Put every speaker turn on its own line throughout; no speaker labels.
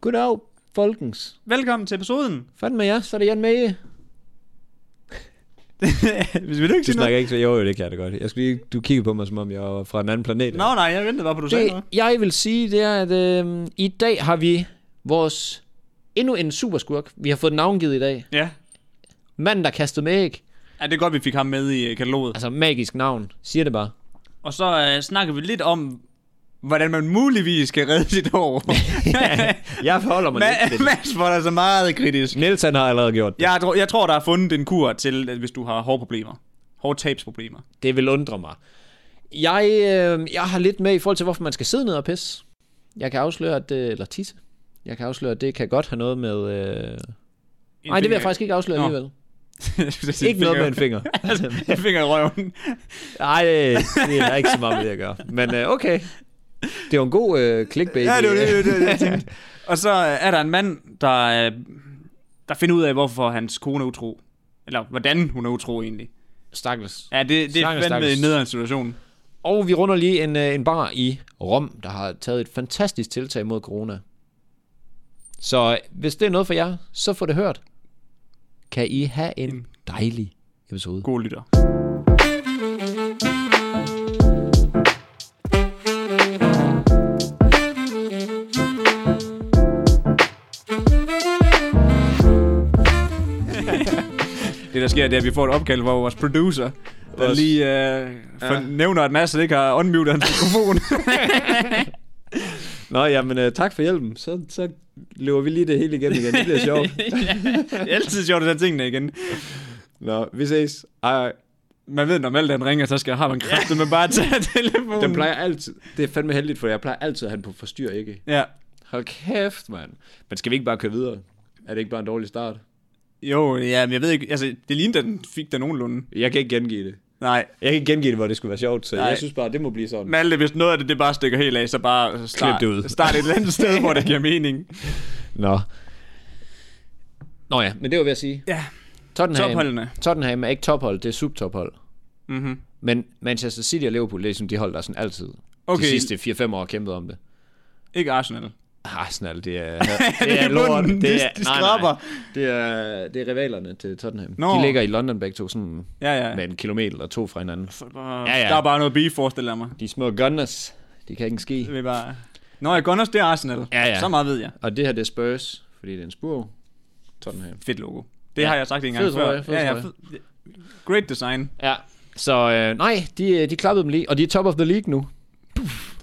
Goddag, folkens.
Velkommen til episoden.
Fanden med jer, så er det Jan Mage.
Hvis vi ikke
Du
sige noget.
snakker ikke så... Jo, jo, det kan jeg da godt. Jeg skulle lige... Du kiggede på mig, som om jeg var fra en anden planet.
Nå nej, jeg ventede bare på, at du sagde
Det,
noget.
jeg vil sige, det er, at øh, i dag har vi vores endnu en superskurk. Vi har fået navngivet i dag.
Ja.
Manden, der kastede med æg.
ja, det er godt, vi fik ham med i øh, kataloget.
Altså, magisk navn. Siger det bare.
Og så øh, snakker vi lidt om, hvordan man muligvis kan redde sit hår.
Jeg forholder mig lidt til
Ma-
det.
Mads var der så meget kritisk.
Niels, han har allerede gjort det.
Jeg, tror- jeg tror, der er fundet en kur til, at hvis du har hårproblemer. Hårtabsproblemer.
Det vil undre mig. Jeg, øh, jeg har lidt med i forhold til, hvorfor man skal sidde ned og pisse. Jeg kan afsløre, at... Øh, eller tisse. Jeg kan afsløre, at det kan godt have noget med... Øh... Nej, det vil jeg faktisk ikke afsløre
Nå.
alligevel.
faktisk
Ikke noget med en finger.
Altså, en finger i røven.
Nej, det er ikke så meget med det at gøre. Men øh, okay. Det var en god øh, clickbait.
Ja, det var det, det, var det, jeg tænkte. Og så øh, er der en mand, der, øh, der finder ud af, hvorfor hans kone er utro. Eller hvordan hun er utro egentlig.
Stakkels.
Ja, det, det er
Stakkels,
fandme
stakkels.
en nederen situation.
Og vi runder lige en, øh, en bar i Rom, der har taget et fantastisk tiltag mod corona. Så øh, hvis det er noget for jer, så få det hørt. Kan I have en dejlig episode.
God lytter. det der sker, det er, at vi får et opkald fra vores producer, der
Vores-
lige øh, ja. nævner, at Mads ikke har unmuted hans mikrofon.
Nå, jamen øh, tak for hjælpen. Så, så løber vi lige det hele igennem igen. Det bliver sjovt.
det er altid sjovt, at tage tingene igen.
Nå, vi ses. Ej, ej.
Man ved, når Maldan ringer, så skal har man kræftet med bare at tage telefonen.
Den plejer altid. Det er fandme heldigt, for jeg plejer altid at have den på forstyr, ikke?
Ja.
Hold kæft, mand. Men skal vi ikke bare køre videre? Er det ikke bare en dårlig start?
Jo, ja, men jeg ved ikke, altså, det lignede, at den fik den nogenlunde.
Jeg kan ikke gengive det.
Nej,
Jeg kan ikke gengive det, hvor det skulle være sjovt, så
Nej.
jeg synes bare, det må blive sådan.
Malte, hvis noget af det, det bare stikker helt af, så bare start,
Klip det ud.
start et eller andet sted, hvor det giver mening.
Nå. Nå ja, men det var ved at sige.
Ja,
Tottenham,
topholdene.
Tottenham er ikke tophold, det er subtophold.
Mm-hmm.
Men Manchester City og Liverpool, det er ligesom de hold, der sådan altid
Okay.
de sidste 4-5 år har kæmpet om det. Ah,
Ikke Arsenal.
Arsenal, det er,
Det er bunden, de- de skraber.
det er, det er rivalerne til Tottenham.
Nå.
De ligger i London begge to, sådan
Ja, ja.
med en kilometer eller to fra hinanden.
Så bare-
Ja, ja.
Der er bare noget beef, forestiller jeg mig.
De små gunners, de kan ikke ske.
Det er bare... Nå, jeg Gunners, det er Arsenal.
Ja, ja.
Så meget ved jeg.
Og det her, det er Spurs, fordi det er en spur. Tottenham.
Fedt logo. Det
Ja.
har jeg sagt en gang
Fed
før.
trøje, fed
ja, ja,
trøje.
fed. Great design.
Ja, så øh, nej, de, øh, de klappede dem lige, og de er top of the league nu.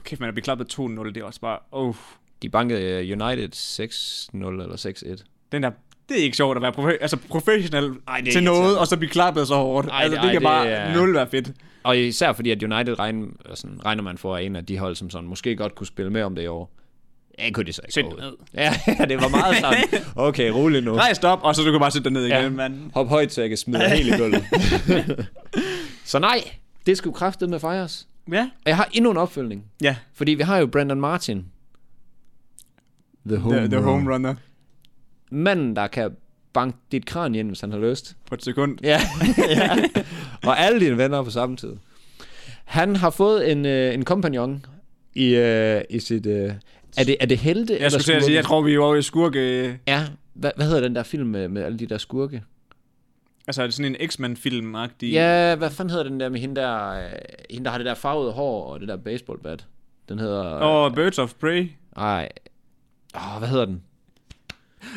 Kæft, man er blevet klappet 2-0. Det er også bare... Oh.
De bankede øh, United 6-0 eller 6-1.
Den der... Det er ikke sjovt at være profe- altså professionel
Ej,
Ej,
det er
til noget,
irriterende.
og så blive klappet så hårdt.
Ej,
Ej, altså,
det-
det
ej,
kan
det
bare
er-
nul være fedt.
Og især fordi, at United regn, øh, sådan, regner man for, er en af de hold, som sådan, måske godt kunne spille med om det i år. Ja, kunne de så ikke
Sæt
overhovedet.
ned.
Ja, det var meget sådan. Okay, rolig nu.
Rejs dig op, og så du kan bare sætte dig ned igen,
Ja.
ja. mand.
Hop højt, så jeg kan smide hele gulvet. så nej, det skulle kraftet med fejres.
Ja.
Og jeg har endnu en opfølgning.
Ja,
Fordi vi har jo Brandon Martin. The home,
the, the home runner
Manden, der kan banke dit kran ind, hvis han har lyst.
på et sekund.
Ja. ja. Og alle dine venner på samme tid. Han har fået en, øh, en kompagnon i, øh, i sit... Øh, er, det, er det helte?
Jeg skulle til at sige, jeg tror, vi er over i øh, skurke...
Ja, hvad, hvad hedder den der film med, med alle de der skurke?
Altså, er det sådan en X-Men-film-agtig...
Ja, hvad fanden hedder den der med hende der, øh, hende der har det der farvede hår og det der baseballbat? Den hedder...
Og Birds of Prey.
Ej. Åh, hvad hedder den?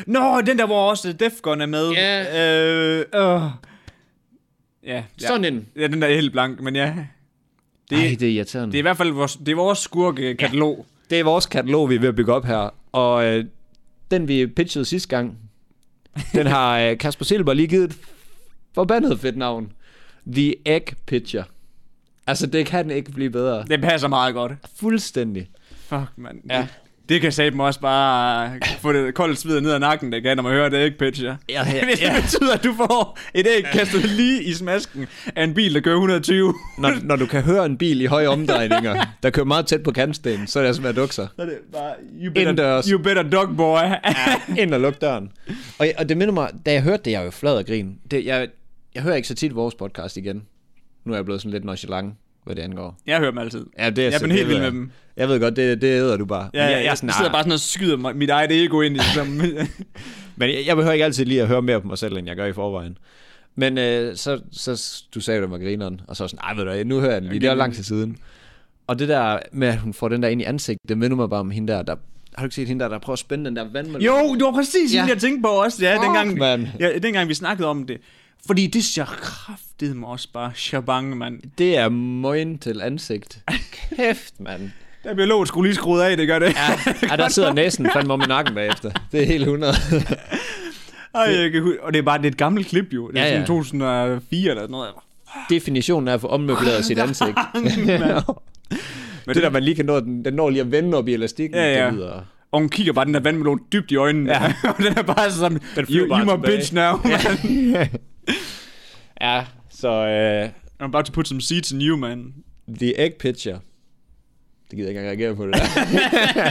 Nå, den der, hvor også Def Gun er med.
Ja.
Øh, øh. Ja, ja.
Sådan en.
ja, den der er helt blank, men ja. Det,
Ej,
det...
det er irriterende.
det er i hvert fald vores, det er vores skurke-katalog. Ja.
Det er vores katalog, vi er ved at bygge op her. Og øh, den, vi pitchede sidste gang, den har øh, Kasper Silber lige givet et forbandet fedt navn. The Egg Pitcher. Altså, det kan ikke blive bedre.
Det passer meget godt.
Fuldstændig.
Fuck, mand.
Ja.
Det, det kan sætte mig også bare få det koldt sved ned ad nakken, det kan, når man hører det ikke pitcher.
Ja, ja,
Hvis
ja.
det betyder, at du får et æg kastet lige i smasken af en bil, der kører 120.
Når, når du kan høre en bil i høje omdrejninger, der kører meget tæt på kantstenen, så er det altså med at dukke sig.
Så er det bare, you
better-
better, you better dog boy.
Ind og luk døren. Og, og det minder mig, da jeg hørte det, jeg var jo flad og grin. Det, jeg, jeg hører ikke så tit vores podcast igen. Nu er jeg blevet sådan lidt nonchalant. hvad det angår.
Jeg hører dem altid.
Ja, det er
Jeg er
så-
blevet
det
helt
ved
vild med
jeg.
dem.
Jeg ved godt, det, det æder du bare.
Ja, ja, jeg, jeg
sådan,
sidder
"Ah."
bare sådan og skyder mig- mit eget ego ind i som,
Men jeg, jeg behøver ikke altid lige at høre mere på mig selv, end jeg gør i forvejen. Men øh, så, så, du sagde jo, det var grineren, og så var jeg sådan, ej ved du hvad, nu hører jeg den lige, det var lang tid siden. Og det der med, at hun får den der ind i ansigtet, det minder mig bare om hende der, der har du ikke set hende der, der prøver at spænde den der vandmølle?
Jo, det var præcis ja.
Ja.
det, jeg tænkte på også. Ja,
Fuck,
dengang,
mand.
ja, dengang vi snakkede om det. Fordi det ser kraftedeme også bare shabang, mand.
Det er møgen til ansigt. Kæft, mand.
Der bliver låget skulle lige skruet af, det gør det. Ja.
Ja, der sidder næsen fandme om i nakken bagefter. Det er helt 100.
Ej, jeg kan, hu- og det er bare det er et gammelt klip jo. Det er
Ja,
ja, sådan
ja.
2004 eller sådan noget.
Definitionen er at få ommøbleret sit ansigt. Men det der, man lige kan nå, den, den når lige at vende op i elastikken.
Ja, ja.
Det lyder...
Og hun kigger bare den der vandmelon dybt i øjnene. Ja. og den er bare sådan,
Den flyver
you,
bare
you my
tilbage.
bitch now. Ja.
Ja, så øh,
I'm about to put some seeds in you, man.
The Egg Pitcher. Det gider jeg ikke engang reagere på det der.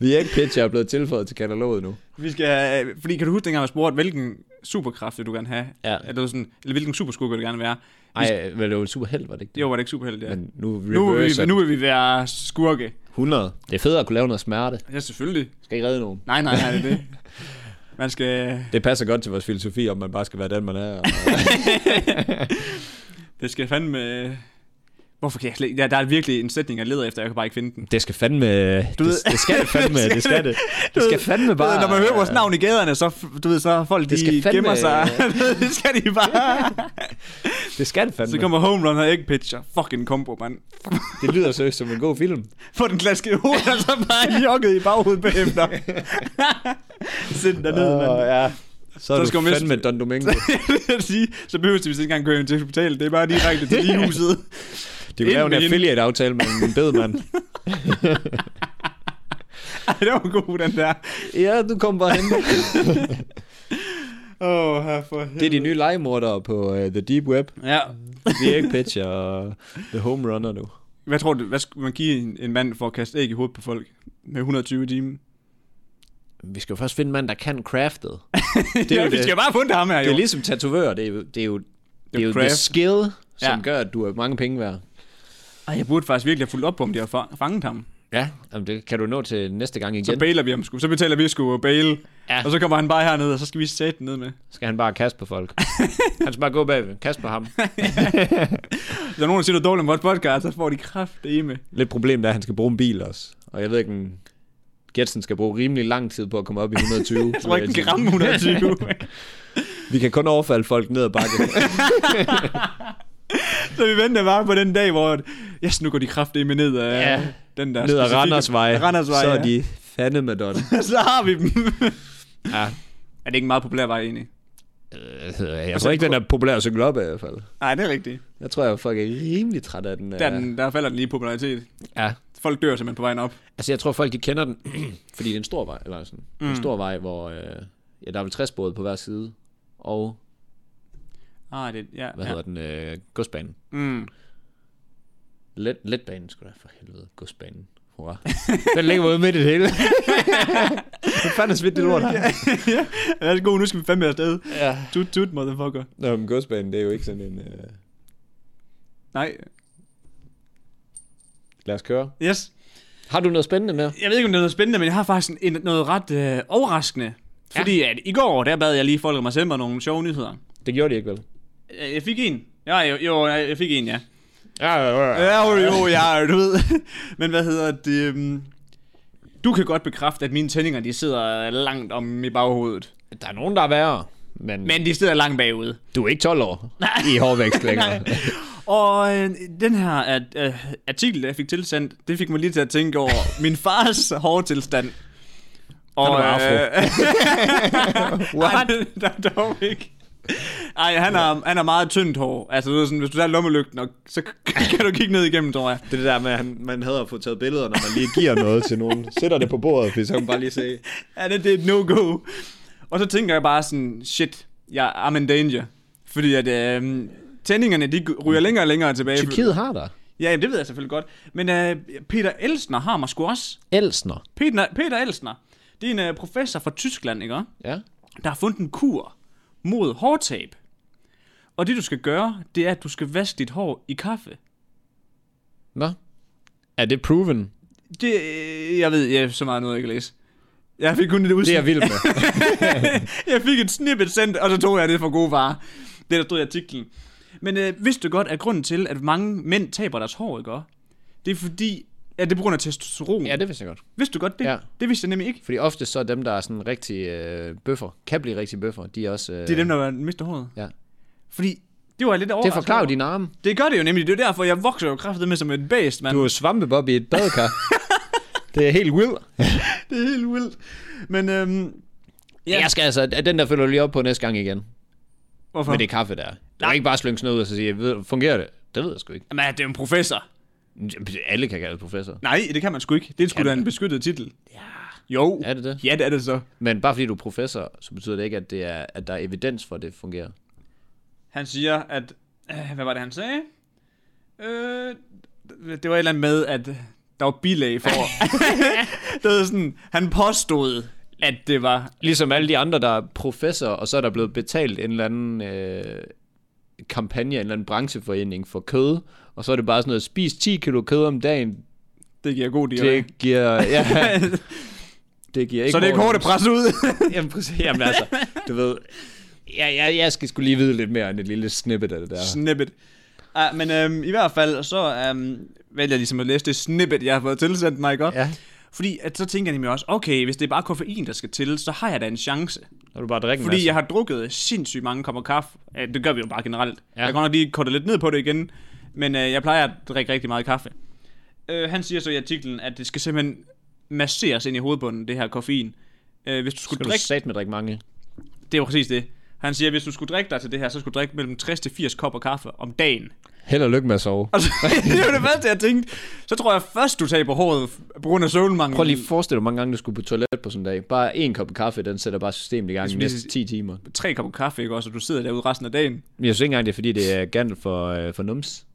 The Egg Pitcher er blevet tilføjet til kataloget nu.
Vi skal, øh, fordi kan du huske dengang, jeg spurgte, hvilken superkraft vil du gerne have?
Ja.
Eller, sådan, eller hvilken superskurk vil du gerne være?
Ej, men det var en super held, var det ikke det?
Jo, var det ikke superhelt, ja.
Men nu
nu, vil vi,
nu...
nu vil vi være skurke.
100. Det er fedt at kunne lave noget smerte.
Ja, selvfølgelig.
Skal ikke redde nogen.
Nej, nej, nej, det er det. Man skal,
Det passer godt til vores filosofi, om man bare skal være den, man er.
det skal fandme... øh, Hvorfor kan jeg slet ikke... Ja, der er virkelig en sætning, jeg leder efter, jeg kan bare ikke finde den.
Det skal fandme... Du
ved-
det, det skal det fandme, det skal det. Det skal fandme
Bare,
bare...
ved, når man hører vores navn i gaderne, så, f- du ved, så folk,
Det skal
de
fandme-
gemmer sig. det skal de bare.
Det skal det fandme.
så kommer Home Run og Egg Pitcher. Fucking combo, mand.
Det lyder seriøst som en god film.
Få den klaske i hovedet, og så bare jogget i baghovedet bagefter. Sæt den derned, mand.
ja. Så, er
Så
du
skal man vist-
fandme Don Domingo.
Det vil sige, så behøver vi vist ikke engang køre ind til hospitalet. Det er bare direkte til ligehuset.
De vil lave en
Ind med hende.
affiliate-aftale med en bedemand.
Ej, det var god, den der.
ja, du kom bare hen.
Åh, oh, her for helvede.
Det er de nye legemordere på uh, The Deep Web.
Ja.
The Egg Pitcher og The Home Runner nu.
Hvad tror du, hvad skulle man give en, en mand for at kaste æg i hovedet på folk? Med 120 timer.
Vi skal jo først finde en mand, der kan craftet.
Det er jo, vi skal bare have fundet ham her, jo.
Det er ligesom tatovører. Det er jo, det er jo, det er jo the
craft.
skill, som
Ja.
gør, at du er mange penge værd.
Ej, jeg burde faktisk virkelig have fulgt op på, om de har fa- fanget ham.
Ja, jamen det kan du nå til næste gang igen.
Så bailer vi ham sgu. Så betaler vi sgu bail.
Ja.
Og så kommer han bare herned, og så skal vi sætte den ned med.
skal han bare kaste på folk. han skal bare gå bagved, kaste på ham.
Hvis der er nogen, der siger noget dårligt om vores podcast, så får de kraft det med.
Lidt problem er, at han skal bruge en bil også. Og jeg ved ikke, om Getsen skal bruge rimelig lang tid på at komme op i 120.
Jeg tror ikke, den kan ramme 120.
Altså, Vi kan kun overfalde folk ned ad bakke.
så vi venter bare på den dag, hvor yes, nu går de kraft med ned ad
Ja.
den der
ned ad
specifikke-
Randersvej.
Randersvej,
så er
ja.
de fandeme don.
så har vi dem.
Ja.
er det ikke en meget populær vej egentlig?
Øh, Jeg tror ikke, den er populær at cykle op af, i hvert fald.
Nej, det er rigtigt.
Jeg tror, jeg folk er rimelig træt af den. øh.
Der, er den, der falder den lige i popularitet.
Ja.
Folk dør simpelthen på vejen op.
Altså, jeg tror, folk de kender den, fordi det er en stor vej, eller sådan. Mm. En stor vej, hvor øh, ja, der er vel 60 både på hver side, og,
Ah, det, ja,
hvad ja.
ja.
hedder den, øh, godsbanen.
Mm.
Let, letbanen, skulle da for helvede. Godsbanen. Hurra. Den ligger ude midt i det hele. Hvad fanden er smidt det lort her?
Værsgo, nu skal vi fandme afsted.
Ja.
Tut, tut, motherfucker.
Nå, men godsbanen, det er jo ikke sådan en... Øh...
Nej,
Lad os køre.
yes.
Har du noget spændende med?
Jeg ved ikke, om det er noget spændende, men jeg har faktisk en, noget ret øh, overraskende. Fordi at i går, der bad jeg lige folk om at sende mig nogle sjove nyheder.
Det gjorde de ikke, vel?
Øh, Jeg fik en. Ja, jo, jo, jeg fik en, ja.
Ja, ja,
Ja, jo, jo, ja, du ved. Men hvad hedder det? øhm, Du kan godt bekræfte, at mine tændinger, de sidder langt om i baghovedet.
Der er nogen, der er værre, men, men...
Men de sidder langt bagud.
du er ikke 12 år Nej. i hårvækst længere.
Og øh, den her at, øh, artikel, jeg fik tilsendt, det fik mig lige til at tænke over min fars hårde tilstand. Og,
Han var
øh, What? Ej, der er dog ikke. Ej, han har, han har meget tyndt hår. Altså, du ved sådan, hvis du tager lommelygten, og, så kan du kigge ned igennem, tror jeg.
Det er det der med, at man hader at få taget billeder, når man lige giver noget til nogen. Sætter det på bordet, fordi så kan man bare lige se.
Ja, det, det er et no-go. Og så tænker jeg bare sådan, shit, jeg I'm in danger. Fordi at øh, tændingerne, de ryger længere og længere tilbage.
Tyrkiet har der.
Ja, jamen, det ved jeg selvfølgelig godt. Men øh, Peter Elsner har mig sgu også.
Elsner.
Peter, Peter Elsner, det er en øh, professor fra Tyskland, ikke? også?
Ja.
Der har fundet en kur mod hårtab. Og det du skal gøre, det er, at du skal vaske dit hår i kaffe.
Nå? Er det proven?
Det, øh, jeg ved, jeg så meget noget, jeg kan læse. Jeg fik kun et
Det er jeg
udsnit.
vild med.
jeg fik et snippet sendt, og så tog jeg det for gode varer. Det, der stod i artiklen. Men øh, vidste du godt, at grunden til, at mange mænd taber deres hår, ikke? også? Det er fordi, at det er på grund af testosteron.
ja, det vidste jeg godt.
Vidste du godt det?
Ja.
Det vidste jeg nemlig ikke.
Fordi ofte så er dem, der er sådan rigtig øh, bøffer, kan blive rigtig bøffer, de er også... Øh,
Det er dem, der mister håret.
Ja.
Fordi det var jeg lidt over.
det forklarer jo dine arme.
Det gør det jo nemlig. Det er jo derfor, jeg vokser jo kraftigt med som et bæst, mand.
Du er svampebob i et badekar. det er helt vildt.
Det er helt vildt. Men øhm,
Ja. Jeg skal altså, den der følger du lige op på næste gang igen.
hvorfor?
Med det kaffe der. Du kan ikke bare slynge sådan noget ud og så sige, "Ved- fungerer det? Det ved jeg sgu ikke.
Jamen, det er jo en professor.
Alle kan kalde professor.
Nej, det kan man sgu ikke. Det er sgu
Kan
da
man?
en beskyttet titel. Ja. Jo.
Er det det?
Ja, det er det så.
Men bare fordi du er professor, så betyder det ikke, at, det er, at der er evidens for, at det fungerer.
Han siger, at... Øh, hvad var det, han sagde? Øh, det var et eller andet med, at der var bilag for... det var sådan, han påstod, at det var...
Ligesom alle de andre, der er professor, og så er der blevet betalt en eller anden øh, kampagne, en eller anden brancheforening for kød, og så er det bare sådan noget, spis 10 kilo kød om dagen.
Det giver god deal.
Det giver, ja, det giver ikke
så det er kortet presset ud.
Jamen, præcis. Jamen altså, du ved, jeg, jeg, jeg skal skulle lige vide lidt mere end et lille snippet af det der.
snippet. Ah, men øhm, i hvert fald, så øhm, vælger jeg ligesom at læse det snippet, jeg har fået tilsendt mig, godt.
Ja.
Fordi at, så tænker jeg nemlig også, okay, hvis det er bare koffein, der skal til, så har jeg da en chance.
Når du bare drikker
Fordi jeg har drukket sindssygt mange kopper kaffe. Ja, det gør vi jo bare generelt.
Ja.
Ja. Jeg kan godt nok lige kortet lidt ned på det igen, men øh, jeg plejer at drikke rigtig meget kaffe. Øh, han siger så i artiklen, at det skal simpelthen masseres ind i hovedbunden, det her koffein. Øh, hvis du skulle
Skal
drikke
du sat med drikke mange?
det er jo præcis det. Han siger, at hvis du skulle drikke dig til det her, så skulle du drikke mellem 60 til 80 kopper kaffe om dagen.
Held og lykke med at sove.
Og så, det er jo det første, jeg tænkte. Så tror jeg først, du taber håret f- på grund af søvnmangel.
Prøv lige at forestille dig, hvor mange gange du skulle på toilet på sådan en dag. Bare en kop kaffe, den sætter bare systemet i gang de
Jeg synes,
næste 10 timer.
Tre kopper kaffe, ikke også? Og du sidder derude resten af dagen.
Men Jeg synes ikke engang, det er fordi, det er gandel for, øh, for nums.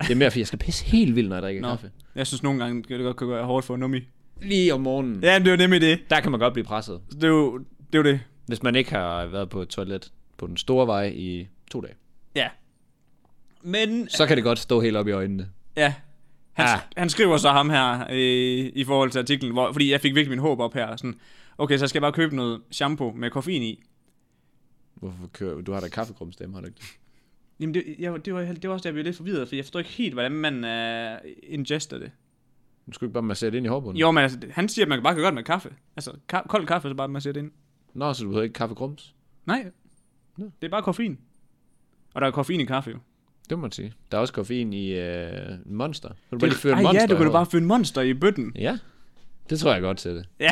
Det er mere, fordi jeg skal pisse helt vildt, når jeg drikker
Nå.
kaffe.
Jeg synes nogle gange, det godt kan være hårdt for en nummi.
Lige om morgenen. Ja.
Ja, men det er jo nemlig det.
Der kan man godt blive presset,
Det er jo det. Er jo det.
hvis man ikke har været på toilet på den store vej i to dage.
Ja. Men,
Så kan det godt stå helt op i øjnene.
ja. Han,
Ah.
ah. han skriver så ham her øh, i forhold til artiklen, hvor, fordi jeg fik virkelig min håb op her. Sådan, okay, så skal jeg bare købe noget shampoo med koffein i.
Hvorfor kører du? har da kaffekrumstemme, har du ikke det?
Jamen, det, jeg, det, var, det var også der, jeg blev lidt forvirret, for jeg forstår ikke helt, hvordan man øh, ingester det.
Mm. Du skulle ikke bare massere det ind i hårbunden?
Jo, men altså, han siger, at man bare kan gøre det med kaffe. Altså, ka- kold kaffe, så bare man siger det ind.
Nå, så du havde ikke kaffegrums?
Nej,
Nå.
det er bare koffein. Og der er koffein i kaffe jo.
Det må man sige. Der er også koffein i øh, Monster. Kan du bare lige føre en monster
ja, du
i
kan du
håret?
bare fylde monster i bøtten.
Ja, det tror jeg godt til det.
Ja,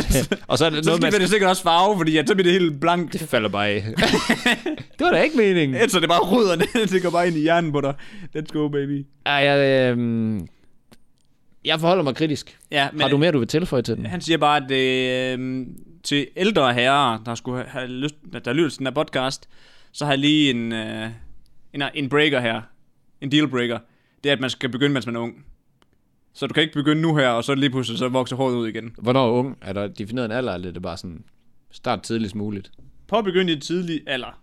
Og så er det
så
noget, man...
skifter det sikkert også farve, fordi ja, så bliver det helt blankt.
Det falder bare af. det var da ikke meningen.
Ellers er det bare rødder ned, det går bare ind i hjernen på dig. Let's go, baby.
Ej, jeg, øh, jeg forholder mig kritisk.
Ja,
Men, har du mere, du vil tilføje til den?
han siger bare, at øh, til ældre herrer, der skulle have- have lyst, der lytter til den her podcast, så har jeg lige en, øh, en, en breaker her. En deal breaker. Det er, at man skal begynde, mens man er ung. Så du kan ikke begynde nu her, og så lige pludselig så vokser håret ud igen.
Hvornår er ung? Er der defineret en alder, eller er det bare sådan, start tidligst muligt?
Påbegynd i tidlig alder.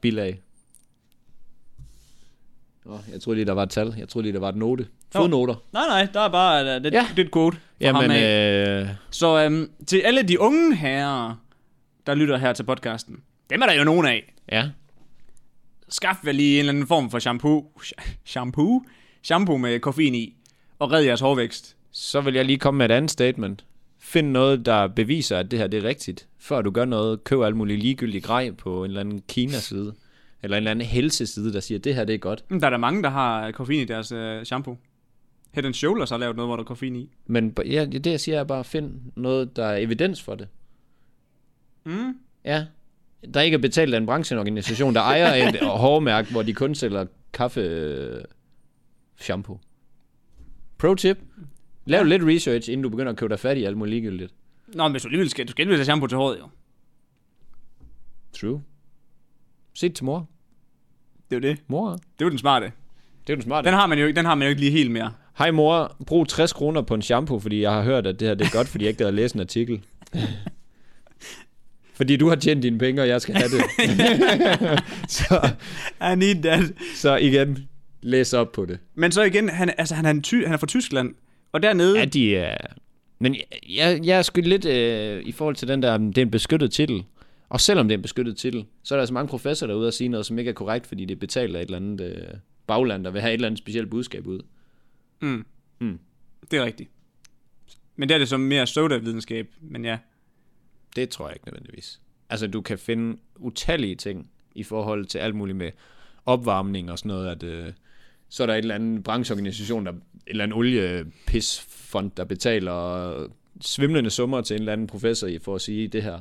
Bilag. Nå, jeg troede lige, der var et tal. Jeg troede lige, der var et note. Fodnoter.
Nej, nej, der er bare uh, det,
Ja.
ja. det er et quote fra ham
Jamen,
af.
øh,
Så øhm, til alle de unge herrer, der lytter her til podcasten. Dem er der jo nogen af.
ja.
Skaf vel lige en eller anden form for shampoo. Shampoo? Shampoo med koffein i. Og red jeres hårvækst.
Så vil jeg lige komme med et andet statement. Find noget, der beviser, at det her det er rigtigt. Før du gør noget, køb alt muligt ligegyldigt grej på en eller anden Kina-side. Eller en eller anden helseside, der siger, at det her det er godt.
Men Hm, Der er der mange, der har koffein i deres øh, shampoo. Head and Shoulders har lavet noget, hvor der er koffein i.
Men b- ja, det jeg siger er bare, find noget, der er evidens for det.
Mm.
Ja. Der ikke er betalt af en brancheorganisation, der ejer et hårmærke, hvor de kun sælger kaffe øh, shampoo. Pro tip. Lav lidt research, inden du begynder at købe dig fat i alt muligt ligegyldigt.
Nå, men hvis du alligevel skal, du skal alligevel have shampoo til håret jo.
True. Se det til mor.
Det er jo det.
Mor,
Det er jo den smarte.
det er den smarte.
Den har man jo ikke, den har man jo ikke lige helt mere.
Hej mor, brug 60 kroner på en shampoo, fordi jeg har hørt, at det her det er godt, fordi jeg ikke gad at læse en artikel. fordi du har tjent dine penge, og jeg skal have det. så,
I need that.
så igen, Læs op på det.
Men så igen, han, altså, han, er, en ty, han er fra Tyskland, og dernede...
Ja, de er... Men jeg, jeg, jeg er sgu lidt øh, i forhold til den der, det er en beskyttet titel. Og selvom det er en beskyttet titel, så er der altså mange professorer derude og sige noget, som ikke er korrekt, fordi det er betalt af et eller andet øh, bagland, der vil have et eller andet specielt budskab ud.
Mm.
Mm.
Det er rigtigt. Men der er det som mere soda-videnskab, men ja.
Det tror jeg ikke nødvendigvis. Altså, du kan finde utallige ting i forhold til alt muligt med opvarmning og sådan noget, at øh, så er der et eller andet brancheorganisation, der, et eller andet oliepissfond, der betaler svimlende summer til en eller anden professor i for at sige det her.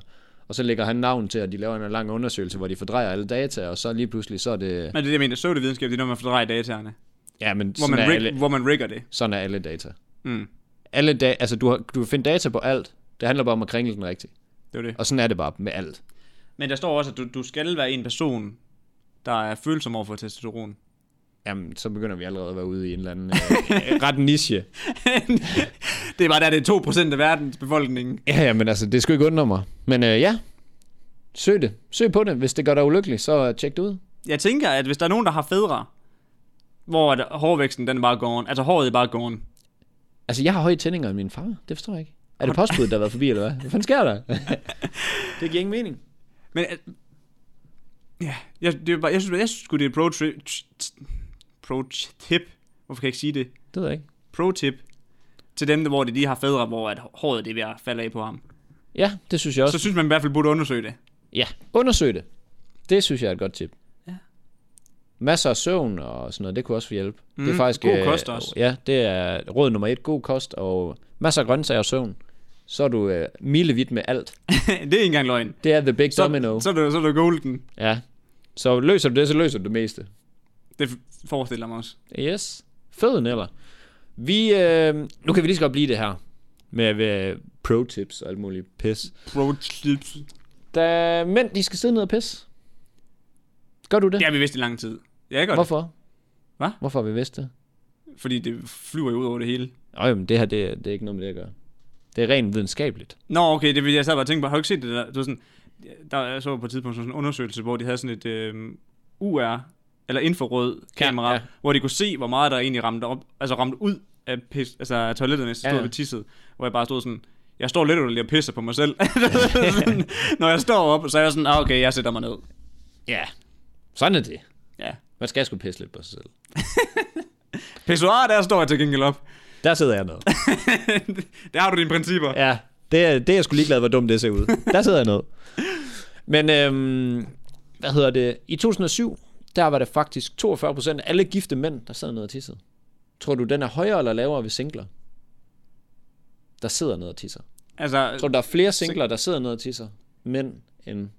Og så lægger han navn til, at de laver en lang undersøgelse, hvor de fordrejer alle data, og så lige pludselig, så er det...
Men det er det, jeg mener, soda-videnskab, det er, når man fordrejer dataerne.
Ja, men
Hvor
sådan,
man,
er,
rig,
alle,
hvor man rigger det.
sådan er alle data.
Mm.
Alle da, altså, du, har, du kan finde data på alt. Det handler bare om at kringle den rigtigt.
Det var det.
Og sådan er det bare med alt.
Men der står også, at du, du skal være en person, der er følsom over for testosteron.
Jamen, så begynder vi allerede at være ude i en eller anden øh, ret niche.
det er bare der, det er 2% af verdens befolkning.
Ja, ja, men altså, det skulle ikke undre mig. Men øh, ja, søg det. Søg på det. Hvis det gør dig ulykkelig, så øh, tjek det ud.
Jeg tænker, at hvis der er nogen, der har fædre, hvor at hårvæksten den er bare gone, altså håret er bare gone.
Altså, jeg har høje tændinger end min far. Det forstår jeg ikke. Er det postbuddet, der har været forbi, eller hvad? Hvad fanden sker der? det giver ingen mening.
Men at- ja, jeg, det er bare, jeg synes, jeg synes sgu, det er et pro, tri, t- pro tip. Hvorfor kan jeg ikke sige det?
Det ved jeg ikke.
Pro tip til dem, hvor de lige har fædre, hvor at håret det er ved at falde af på ham.
Ja, det synes jeg også.
Så synes man i hvert fald burde undersøge det.
Ja, undersøg det. Det synes jeg er et godt tip.
Ja.
Masser af søvn og sådan noget, det kunne også hjælpe. Mm, det er
Mm,
faktisk,
god
øh,
kost også.
Ja, det er råd nummer et. God kost og masser af grøntsager og søvn. Så er du øh, milevidt med alt.
det er ikke engang løgn.
Det er the big
Så,
domino.
så, er du, så er du golden.
Ja. Så løser du det, så løser du det meste.
Det f- forestiller mig også.
Yes. Fed eller? Vi, øh, nu kan vi lige så godt blive det her. Med øh, pro-tips og alt muligt pis.
Pro tips.
Da mænd, de skal sidde ned og pisse. Gør du det?
Det har vi vidst i lang tid. Ja, ikke godt.
Hvorfor?
Hva?
Hvorfor har vi vidst det?
Fordi det flyver jo ud over det hele.
Øj, men det her, det, er- det er ikke noget med det at gøre. Det er rent videnskabeligt.
Nå, okay, det vil jeg sad bare og tænkte på. Har du ikke set det der? Det var sådan, der jeg så på et tidspunkt sådan en undersøgelse, hvor de havde sådan et øh, UR, eller infrarød kamera, ja,
ja.
ja. hvor de kunne se, hvor meget der egentlig ramte, op, altså ramte ud af, pis, altså af toiletterne, så
Ja,
stod ja,
ja.
ja. ved tisset, hvor jeg bare stod sådan, jeg står lidt underlig og pisser på mig selv. sådan, når jeg står op, så er jeg sådan, ah, okay, jeg sætter mig ned.
Ja. Sådan er det.
Ja.
Man skal sgu pisse lidt på sig selv.
Pissoir, Ah, der står jeg til gengæld op.
Der sidder jeg ned.
der har du dine principper. Ja.
Ja, det er, det er jeg sgu ligeglad, hvor dumt det ser ud. Der sidder jeg ned. Men, øhm, hvad hedder det? I 2007, der var det faktisk 42 procent af alle gifte mænd, der sad ned og tissede. Tror du, den er højere eller lavere ved singler? Der sidder ned og tisser.
Altså,
Tror du, der er flere singler, der sidder ned og tisser? Mænd end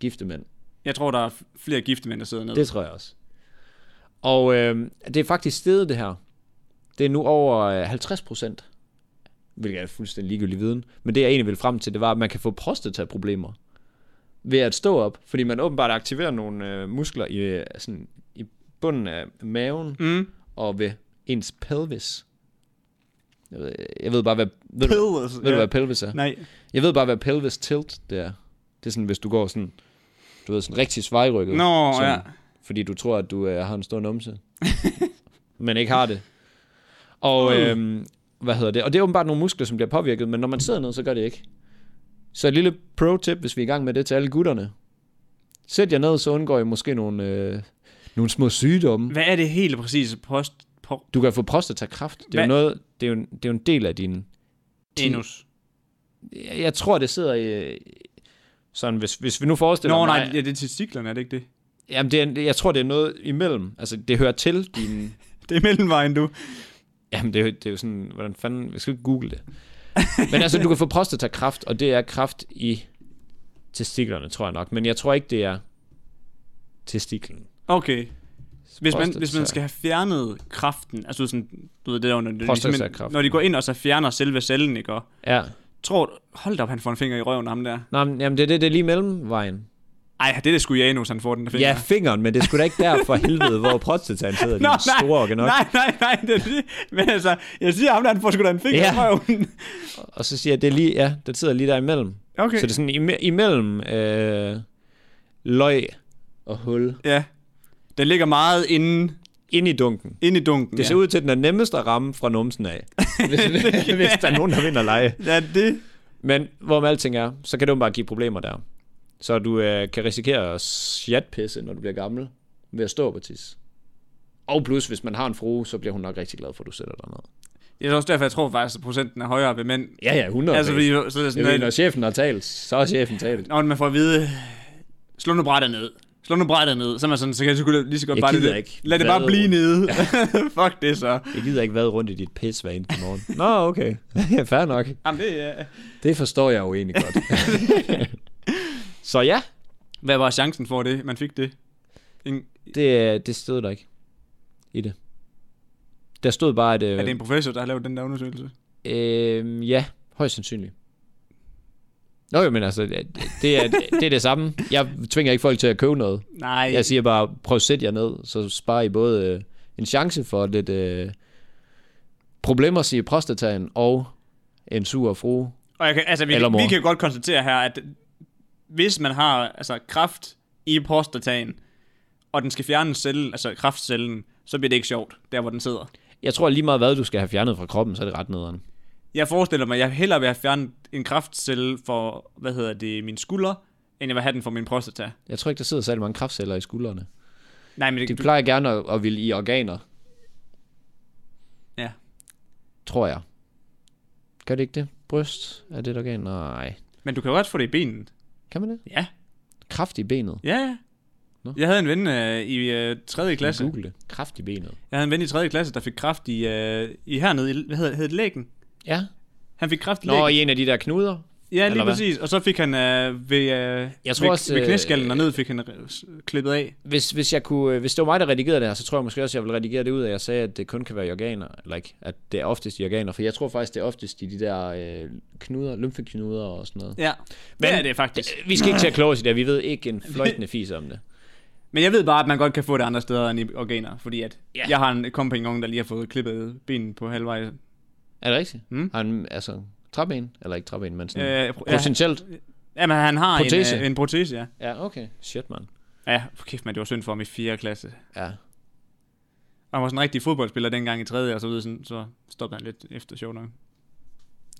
gifte mænd.
Jeg tror, der er f- flere gifte mænd, der sidder nede.
Det tror jeg også. Og øh, det er faktisk steget det her. Det er nu over øh, 50 procent. Hvilket er fuldstændig ligegyldig viden. Men det jeg egentlig ville frem til, det var, at man kan få prostataproblemer ved at stå op. Fordi man åbenbart aktiverer nogle øh, muskler i, øh, sådan, i bunden af maven
Mm.
og ved ens pelvis. Jeg ved, jeg ved bare, hvad, ved du,
Pelvis,
ved du,
altså, ja.
hvad pelvis er?
Nej.
Jeg ved bare, hvad pelvis tilt det er. Det er sådan, hvis du går sådan, du ved, sådan rigtig svejrykket.
Nå,
sådan,
ja.
Fordi du tror, at du øh, har en stor numse. men ikke har det. Og,
Mm.
øh, hvad hedder det? Og det er åbenbart nogle muskler, som bliver påvirket, men når man sidder ned, så gør det ikke. Så et lille pro-tip, hvis vi er i gang med det til alle gutterne. Sæt jer ned, så undgår I måske nogle, øh, nogle små sygdomme.
Hvad er det helt præcis post på
Du kan få prostatakræft. Det er, jo
Hvad?
noget, det, er jo, en- det er jo en del af din
anus?
Jeg, jeg tror, det sidder i... øh, Sådan, hvis, hvis vi nu forestiller
Nå,
mig...
nej, ja, det er testiklerne, er det ikke det?
Jamen, det er, en- jeg tror, det er noget imellem. Altså, det hører til din...
Det er mellemvejen, du.
Jamen, det er, jo- det er jo sådan... Hvordan fanden... Jeg skal jo ikke google det. Men altså, du kan få prostatakræft, og det er kræft i testiklerne, tror jeg nok. Men jeg tror ikke, det er testiklen.
Okay. Hvis man,
Prostata.
hvis man skal have fjernet kraften, altså sådan, du ved det der, under, når, de, simpelthen-
Prostatakraften.
når de går ind og så fjerner selve cellen, ikke? Og
Ja.
tror, hold da op, han får en finger i røven, ham der.
Nå, men, jamen, det er det, det er lige mellemvejen.
Ej, det er det sgu i anus, han får den der finger.
Ja, fingeren, men det skulle da ikke der for helvede, hvor prostataen sidder i din
Nå, nej,
store organok.
nej, nej, nej, det er det. Men altså, jeg siger ham der, han får sgu da en finger
Ja.
i røven.
Og så siger jeg, det er lige... Ja, det sidder lige der imellem.
Okay.
Så det er sådan ime- imellem øh, løg og hul.
Ja. Den ligger meget inden
ind i dunken.
Ind i dunken,
Det
ja.
ser ud til, at den er nemmest at ramme fra numsen af, hvis, hvis der er nogen, der vinder lege.
Ja, det...
Men hvorom alting er, så kan det jo bare give problemer der. Så du øh, kan risikere at sjatpisse, når du bliver gammel, ved at stå på tis. Og plus, hvis man har en frue, så bliver hun nok rigtig glad for, at du sætter dig ned.
Det er også derfor, jeg tror faktisk, at procenten er højere ved mænd.
Ja, ja, 100.
Altså, fordi, så er det sådan,
jeg ved,
noget-
når chefen har talt, så er chefen talt.
Når man får at vide, slå nu brættet ned. Slå nu brættet ned. Så er man sådan, så kan jeg sgu lige så godt
Jeg
bare
gider
det.
ikke.
Lad det bare
Hvad?
blive nede. Fuck det så.
Jeg gider ikke være rundt i dit pis hver eneste morgen. Nå, okay. Ja, Fair nok.
Jamen det er...
Det forstår jeg jo egentlig godt. så ja,
Hvad var chancen for det? Man fik det. En,
det, det stod der ikke i det. Der stod bare, at... Øh,
er det en professor, der har lavet den der undersøgelse?
Øhm, ja, højst sandsynligt. Nå jo, men altså, det det er, det er det samme. Jeg tvinger ikke folk til at købe noget.
Nej.
Jeg siger bare, prøv at sætte jer ned, så sparer I både øh, en chance for lidt øh, problemer i prostataen og en sur frue.
Og jeg kan, altså, vi,
Eller mor.
vi kan godt konstatere her, at hvis man har altså, kraft i prostataen, og den skal fjerne cellen, altså kraftcellen, så bliver det ikke sjovt, der hvor den sidder.
Jeg tror lige meget, hvad du skal have fjernet fra kroppen, så er det ret nederen.
Jeg forestiller mig, at jeg hellere vil have fjernet en kraftcelle for, hvad hedder det, min skulder, end jeg vil have den for min prostata.
Jeg tror ikke, der sidder særlig mange kraftceller i skuldrene.
Nej, men
De
det, du,
plejer gerne at, at ville i organer,
ja.
tror jeg. Gør det ikke det? Bryst? Er det et organ? Nej.
Men du kan jo også få det i benen.
Kan man det?
Ja,
Kraft i benet.
ja, ja.
Nå.
Jeg havde en ven øh, i øh, 3. klasse.
Google det. Kraft i benet.
Jeg havde en ven i 3. klasse, der fik kraft i, øh, i hernede, i, hvad hedder, hedder det, lægen?
Ja.
Han fik kraft i lægen.
Nå, i en af de der knuder.
Ja,
Eller
lige
hvad?
præcis. Og så fik han øh, ved, øh,
Jeg tror
ved,
også,
ved
øh,
knæskallen og ned fik han øh, s- klippet af.
Hvis, hvis, jeg kunne, øh, hvis det var mig, der redigerede det her, så tror jeg måske også, at jeg ville redigere det ud, at jeg sagde, at det kun kan være i organer, eller ikke, at det er oftest i organer, for jeg tror faktisk, det er oftest i de der øh, knuder, lymfeknuder og sådan noget.
Ja, men, det er det faktisk.
Øh, Vi skal ikke til at kloge os i det, her. vi ved ikke en fløjtende fis om det.
Men jeg ved bare, at man godt kan få det andre steder end i organer, fordi at
Ja.
jeg har en kompagnon, der lige har fået klippet benen på halvvej. Øh,
Er det rigtigt?
Mm.
Har han, altså, træben? Eller ikke træben, men sådan... Øh,
ja,
potentielt?
jamen, han har
Protese.
En, øh, en Mm. protese, ja.
Ja, okay. Shit, mand.
Ja, kæft man, det var synd for ham i 4. klasse.
Ja.
Og han var sådan en rigtig fodboldspiller dengang i 3. og så videre, sådan, så stoppede han lidt efter sjov nok.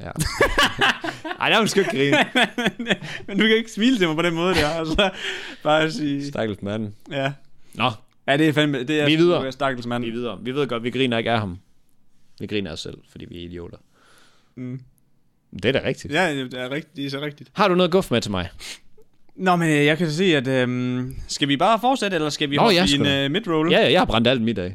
ja. Ej, der er hun sgu ikke grine.
men du kan ikke smile til mig på den måde der, altså bare sige,
Stakkels manden.
ja.
Nå,
Ja, det er fandme, det er,
Vi er videre.
det er stakkels mand.
vi er videre. Vi ved godt, vi griner ikke af ham. Vi griner af os selv, fordi vi er idioter.
Mm.
Det er da rigtigt.
Ja, det er, rigtigt, det er så rigtigt.
Har du noget guf med til mig?
Nå, men øh, jeg kan se, at øhm, skal vi bare fortsætte, eller skal vi
Nå,
hoppe
ja,
i
sgu
en
da.
øh, midroll?
Ja, ja, jeg har brændt alt mit af.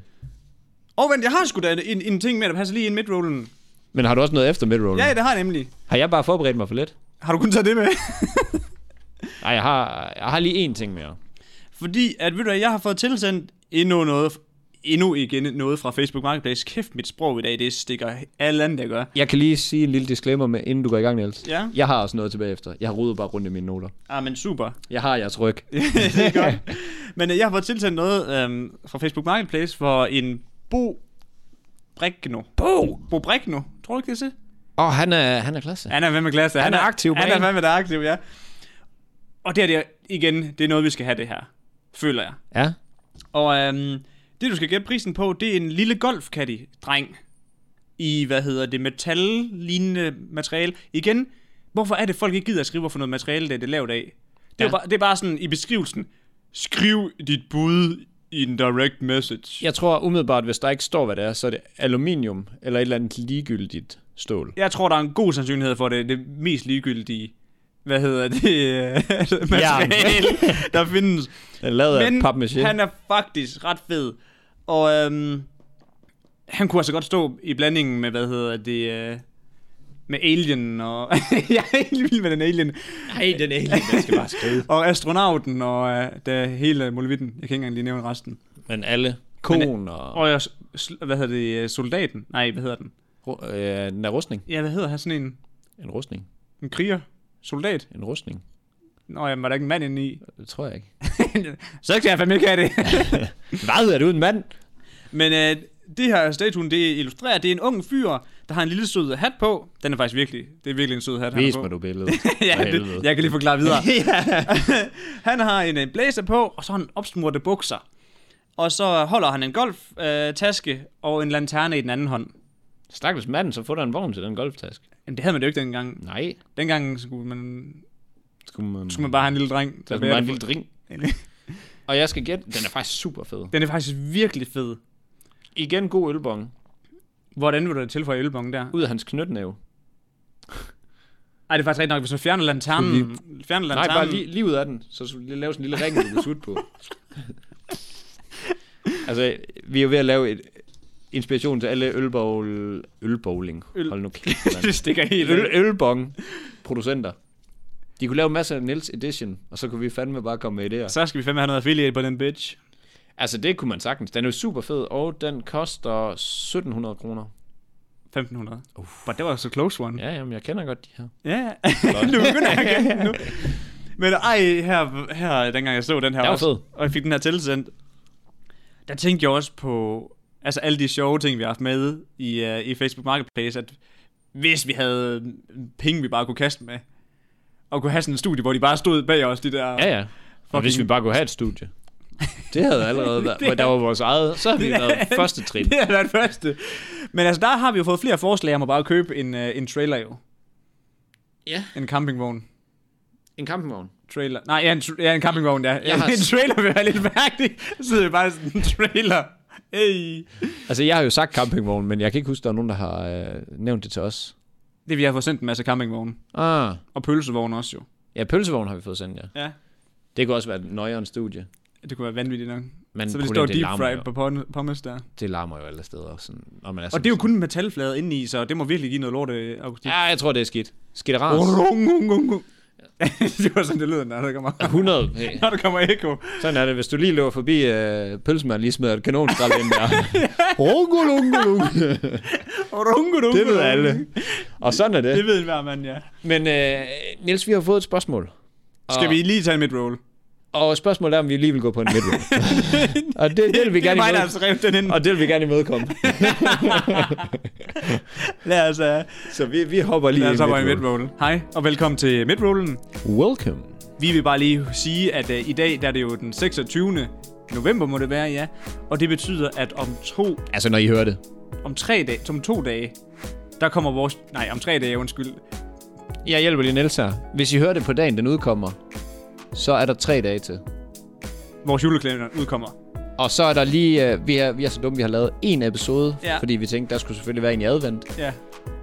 Åh, oh, vent, jeg har sgu da en, en ting med, der passer lige ind i midrollen.
Men har du også noget efter midrollen?
Ja, det har jeg nemlig.
Har jeg bare forberedt mig for lidt?
Har du kun taget det med?
Nej, jeg har, jeg har lige én ting mere.
Fordi, at ved du hvad, jeg har fået tilsendt endnu noget, endnu igen noget fra Facebook Marketplace. Kæft, mit sprog i dag, det stikker alle andet, jeg gør.
Jeg kan lige sige en lille disclaimer med, inden du går i gang, Niels.
Ja.
Jeg har også noget tilbage efter. Jeg har rodet bare rundt i mine noter.
Ah, men super.
Jeg har jeres ryg.
det er godt. Men øh, jeg har fået tilsendt noget øhm, fra Facebook Marketplace for en Bo Brigno.
Bo!
Bo Brigno, tror du ikke, det er det?
Åh, oh, han er, han er klasse.
Han er hvad med glas?
Han er aktiv på
Han er
banen.
hvad med der er aktiv, ja. Og det her, det er, igen, det er noget, vi skal have det her. Føler jeg.
Ja.
Og øhm, det, du skal gætte prisen på, det er en lille golfkaddy dreng i, hvad hedder det, metal-lignende materiale. Igen, hvorfor er det, folk ikke gider at skrive, hvorfor noget materiale det er det er lavet af? Det, er
Ja.
bare, det er bare sådan i beskrivelsen. Skriv dit bud i en direct message.
Jeg tror umiddelbart, hvis der ikke står, hvad det er, så er det aluminium eller et eller andet ligegyldigt stål.
Jeg tror, der er en god sandsynlighed for, at det er det mest ligegyldige, hvad hedder det, øh, materiale, der findes.
Den er lavet af
Men
papmaché.
han er faktisk ret fed. Og øhm, han kunne altså godt stå i blandingen med, hvad hedder det, øh, med Alien og... jeg er helt vild med den Alien.
Nej, den er helt jeg skal bare skrive.
Og astronauten og øh, der hele molevitten. Jeg kan ikke engang lige nævne resten.
Men alle. Konen og...
Og jeg, s- sl- hvad hedder det, øh, soldaten? Nej, hvad hedder den?
Øh, den er rustning.
Ja, hvad hedder han sådan en?
En rustning.
En kriger? Soldat?
En rustning.
Nå, jamen, var der ikke en mand inde i?
Det tror jeg ikke.
Så skal jeg fandme ikke have det.
Hvad? Er du en mand?
Men øh, det her statuen, det illustrerer, det er en ung fyr, der har en lille sød hat på. Den er faktisk virkelig, det er virkelig en sød hat,
Vis
han
mig
har på.
du billedet. For
ja,
helvede.
det, jeg kan lige forklare videre. han har en øh, blazer på, og så har han opsmurte bukser. og så holder han en golftaske øh, og en lanterne i den anden hånd.
Stakkels manden, så får der en vogn til den golftaske.
Jamen, det havde man jo ikke dengang.
Nej.
Dengang skulle man,
Skulle man,
skulle man bare have en lille dreng.
der
Der
skulle man
bærer
Altså, en
det
lille drink. Og jeg skal gætte, den er faktisk super fed.
Den er faktisk virkelig fed.
Igen god ølbong.
Hvordan vil du tilføje ølbongen der?
Ud af hans knytnæve.
Ej, det er faktisk rigtigt nok, hvis man fjerner lanternen. Fjerner
Nej,
lanternen.
bare lige, lige ud af den. Så skulle du lige lave sådan en lille ring, du kan sutte på. altså, vi er jo ved at lave et inspiration til alle ølbowl... Ølbowling.
Øl-
Hold nu kæft, mand.
det stikker helt
øl,
øl.
ølbong producenter. De kunne lave masser af Nils Edition, og så kunne vi fandme bare komme med idéer.
Så skal vi fandme have noget affiliate på den bitch.
Altså, det kunne man sagtens. Den er jo super fed, og den koster 1700 kroner.
1500. Uh. But det var så close one.
Ja, jamen, jeg kender godt de her.
Ja, nu begynder jeg igen nu. Men ej, her, her, dengang jeg så den her
Den var
også,
fed.
og jeg fik den her tilsendt, der tænkte jeg også på altså alle de sjove ting, vi har haft med i, uh, i Facebook Marketplace, at hvis vi havde øh, penge, vi bare kunne kaste med, og kunne have sådan en studie, hvor de bare stod bag os, de der...
Ja, ja. Og hvis vi bare kunne have et studie. Det havde allerede været, hvor der var vores eget, så havde vi været første trin.
Det er det første. Men altså, der har vi jo fået flere forslag om at bare købe en, uh, en trailer jo.
Ja.
En campingvogn.
En kampvogn.
Trailer. Nej, ja, en, tra- ja, en campingvogn, ja.
Jeg har
en
s-
trailer vil være lidt mærkelig. Så sidder vi bare i sådan en trailer. Hey.
Altså, jeg har jo sagt campingvogn, men jeg kan ikke huske, at der er nogen, der har øh, nævnt det til os.
Det vi har fået sendt en masse campingvogne.
Ah.
Og pølsevogn også jo.
Ja, pølsevogn har vi fået sendt, ja.
Ja.
Det kunne også være et nøjeren studie.
Det kunne være vanvittigt nok.
Men
så vil
problemet,
det stå
det
deep
larmer
fry
jo.
på pon- pommes der.
Det larmer jo alle steder. Sådan, altså, når man er
Og
sådan-
det er jo kun en metalflade indeni, så det må virkelig give noget lort, øh, Augustin.
Ja, jeg tror, det er skidt. Skidt og rart.
Rung, rung, rung, rung. det var sådan, det lyder, når der kommer,
100. Hey.
når der kommer ekko.
Sådan er det, hvis du lige løber forbi øh, pølsemanden, lige smider et kanonskrald ind der. Rungulungulung.
Rungu, rungu,
Det ved alle. Og sådan er
Det
det.
ved enhver mand, ja.
Men øh, Niels, vi har fået et spørgsmål. Og,
Skal vi lige tage en midroll?
Og spørgsmålet er, om vi lige vil gå på en midroll. og det, det, vil vi
Det er
gerne
mig, der har
imødekomme.
skrevet den ind.
Og det vil vi gerne imødekomme.
Lad os, uh,
Så vi, vi hopper lige
lad os hoppe i
midroll.
midrollen. Hej, og velkommen til midrollen.
Welcome.
Vi vil bare lige sige, at uh, i dag der er det jo den 26. november, må det være, ja. Og det betyder, at om to,
Altså, når I hører det.
om tre dage, om to dage, der kommer vores... Nej, om tre dage, undskyld.
Jeg hjælper lige Niels her. Hvis I hører det på dagen, den udkommer, så er der tre dage til.
Vores juleklæder udkommer.
Og så er der lige, øh, vi, er, vi er så dumme, vi har lavet en episode,
Ja.
ja. fordi vi tænkte, der skulle selvfølgelig være en i advent.
Ja.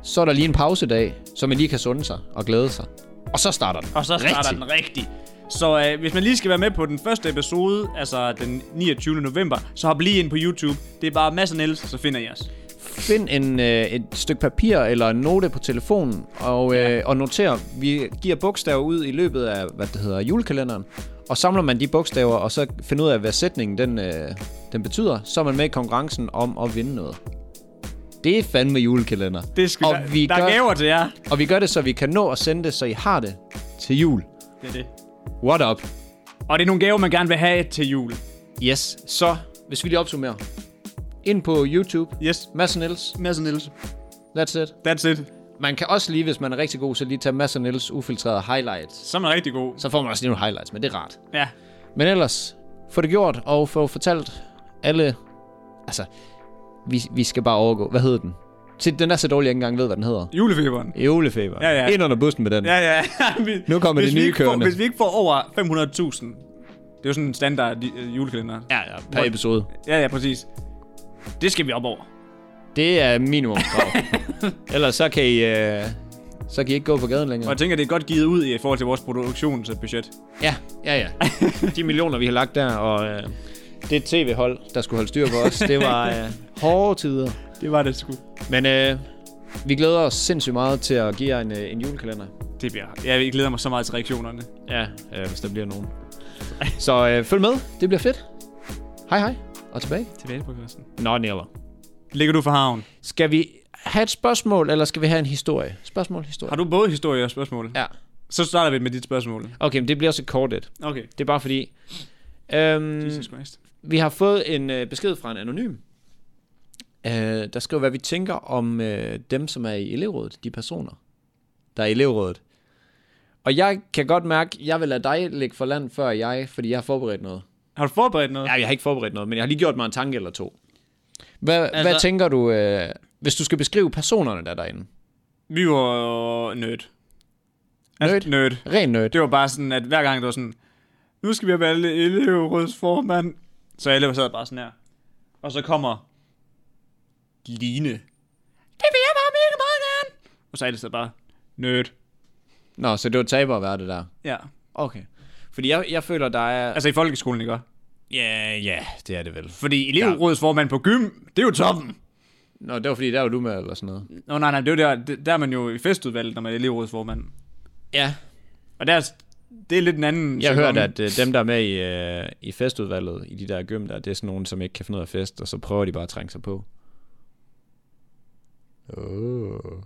Så er der lige en pausedag, så man lige kan sunde sig og glæde sig. Og så starter den.
Og så starter
Rigtig.
rigtig. den rigtig. Så øh, hvis man lige skal være med på den første episode, altså den 29. november, så hop lige ind på YouTube. Det er bare masser Niels, så finder I os.
Find en, øh, et stykke papir eller en note på telefonen og, øh, og noter. Vi giver bogstaver ud i løbet af, hvad det hedder, julekalenderen. Og samler man de bogstaver, og så finder ud af, hvad sætningen den, øh, den betyder, så er man med i konkurrencen om at vinde noget. Det er fandme julekalender.
Det skal,
og
der,
vi
der er
gør,
gaver til jer.
Og vi gør det, så vi kan nå at sende det, så I har det til jul.
Det er det.
What up?
Og det er nogle gaver, man gerne vil have til jul.
Yes, så hvis vi lige opsummerer. Ind på YouTube.
Yes.
Mads og Niels.
Mads og Niels.
That's it.
That's it.
Man kan også lige, hvis man er rigtig god, så lige tage Mads og Niels ufiltrerede highlights.
Så er man rigtig god.
Så får man også lige nogle highlights, men det er rart.
Ja.
Men ellers, få det gjort og få fortalt alle... Altså, vi, vi skal bare overgå. Hvad hedder den? Se, den er så dårlig, jeg ikke engang ved, hvad den hedder.
Julefeberen.
Julefeber.
Ja, ja.
Ind under bussen med den.
Ja, ja. Vi-
Nu kommer
hvis
det
vi
nye
ikke får,
kørende.
Hvis vi ikke får over 500.000, det er jo sådan en standard øh, julekalender.
ja, ja per episode.
Ja, ja, præcis. Det skal vi op over.
Det er minimumskrav. Ellers så kan I... Øh, så kan I ikke gå på gaden
Og
længere.
jeg tænker, det er godt givet ud i forhold til vores produktionsbudget.
Ja, ja, ja. De millioner, vi har lagt der, og øh, det tv-hold, der skulle holde styr på os, det var øh, hårde tider.
Det var det sgu.
Men øh, vi glæder os sindssygt meget til at give jer en, øh, en julekalender.
Det bliver... Ja, jeg glæder mig så meget til reaktionerne.
Ja, øh, hvis der bliver nogen. Så øh, følg med, det bliver fedt. Hej hej, og tilbage.
Tilbage på Christen.
Nå, never.
Ligger du for havn?
Skal vi have et spørgsmål, eller skal vi have en historie? Spørgsmål, historie.
Har du både historie og spørgsmål?
Ja.
Så starter vi med dit spørgsmål.
Okay, men det bliver også et kort et.
Okay.
Det er bare fordi... Øhm,
Jesus Christ.
Vi har fået en øh, besked fra en anonym, øh, der skriver, hvad vi tænker om øh, dem, som er i elevrådet, de personer, der er i elevrådet. Og jeg kan godt mærke, jeg vil lade dig ligge for land før jeg, fordi jeg har forberedt noget.
Har du forberedt noget?
Ja, jeg har ikke forberedt noget, men jeg har lige gjort mig en tanke eller to. Hvad, altså, hvad
Altså-
tænker du, øh, hvis du skal beskrive personerne, der er derinde?
Vi var jo nerd.
Nerd?
nerd.
Ren nerd.
Det var bare sådan, at hver gang det var sådan, nu skal vi have valgt elevrådsformand. Så alle sad bare sådan her. Og så kommer Line. Det vil jeg bare mega meget gerne. Og så alle sad bare, nerd.
Nå, så det var taber at være det der.
Ja.
Okay. Fordi jeg, jeg føler, der er...
Altså i folkeskolen, ikke?
Ja, ja, det er det vel.
Fordi elevrådsformand på gym, det er jo toppen.
Nå, det var fordi, der var du med eller sådan noget.
Nå nej, nej, det er jo der, det- der er man jo i festudvalget, når man er elevrådsformand.
Ja,
Og der, er- det er lidt en anden...
jeg
jargon.
hørte, at øh, dem, der er med i, øh, i festudvalget, i de der gym der, det er sådan nogen, som ikke kan finde ud af fest, og så prøver de bare at trænge sig på. Oh.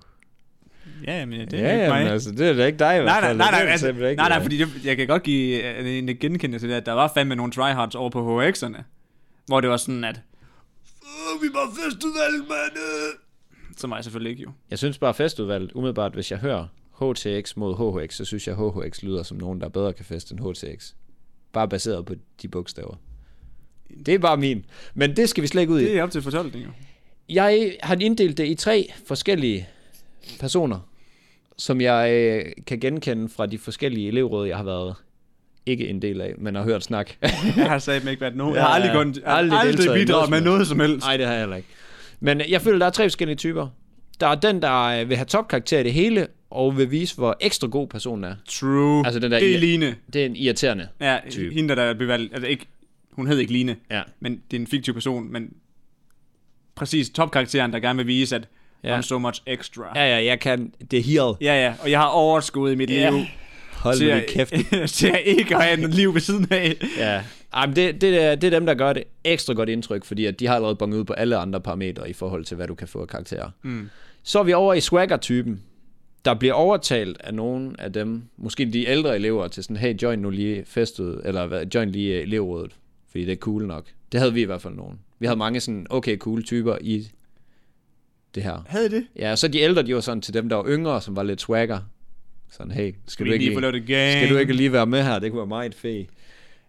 Ja, men det er
Ja,
ikke mig.
men altså, det er da ikke dig i
Nej,
hvert
nej,
fald.
nej,
Det
nej,
er det
altså,
simpelthen
nej,
ikke,
nej,
øh.
fordi det, jeg kan godt give øh, en en genkendelse til det, at der var fandme nogle tryhards over på HX'erne, hvor det var sådan, at "Åh, vi var festudvalg, mand! øh." Så var jeg selvfølgelig ikke, jo.
Jeg synes bare festudvalget, umiddelbart, hvis jeg hører HTX mod HHX, så synes jeg, HHX lyder som nogen, der bedre kan feste end HTX. Bare baseret på de bogstaver. Det er bare min. Men det skal vi slet ikke ud i.
Det er op til fortolkning, jo.
Jeg har inddelt det i tre forskellige personer, som jeg øh, kan genkende fra de forskellige elevråd, jeg har været ikke en del af, men har hørt snak.
Jeg har sagt ikke været nogen. Jeg har
Ja,
aldrig,
ja.
kun,
Aldrig
aldrig, aldrig
deltaget i noget
bidraget med
som helst.
noget som helst.
Nej, det har jeg heller ikke. Men jeg føler, der er tre forskellige typer. Der er den, der øh, vil have topkarakter i det hele, og vil vise, hvor ekstra god personen er.
True.
Altså,
Altså,
den
den
der
det er
i-
Line.
Det er en irriterende.
Ja,
Type.
hende, der er bevalgt. Altså, ikke, hun hed ikke Line,
Ja.
men det er en fiktiv person, men præcis topkarakteren, der gerne vil vise, at
Ja.
ja. I'm so much extra. Ja.
Ja, ja, jeg kan. Det er healed.
ja, ja, og jeg har overskud i mit
Ja.
liv.
Hold
til,
nu
at,
din kæft.
til at ikke at have et liv ved siden af.
Ja. Ej, men det, det, er, det er dem, der gør det ekstra godt indtryk, fordi at de har allerede bonget ud på alle andre parametre i forhold til, hvad du kan få af karakterer. Mm. Så er vi over i swagger-typen, der bliver overtalt af nogen af dem, måske de ældre elever, til sådan, hey, join nu lige festet, eller hvad, join lige øh, elevrådet, fordi det er cool nok. Det havde vi i hvert fald nogen. Vi havde mange sådan, okay, cool typer i det her.
Havde det?
Ja, og så de ældre, de var sådan til dem, der var yngre, som var lidt swagger. Sådan, hey, skal du
Skal
ikke
lige få lavet det gang?
skal du ikke lige være med her? Det kunne være meget fedt.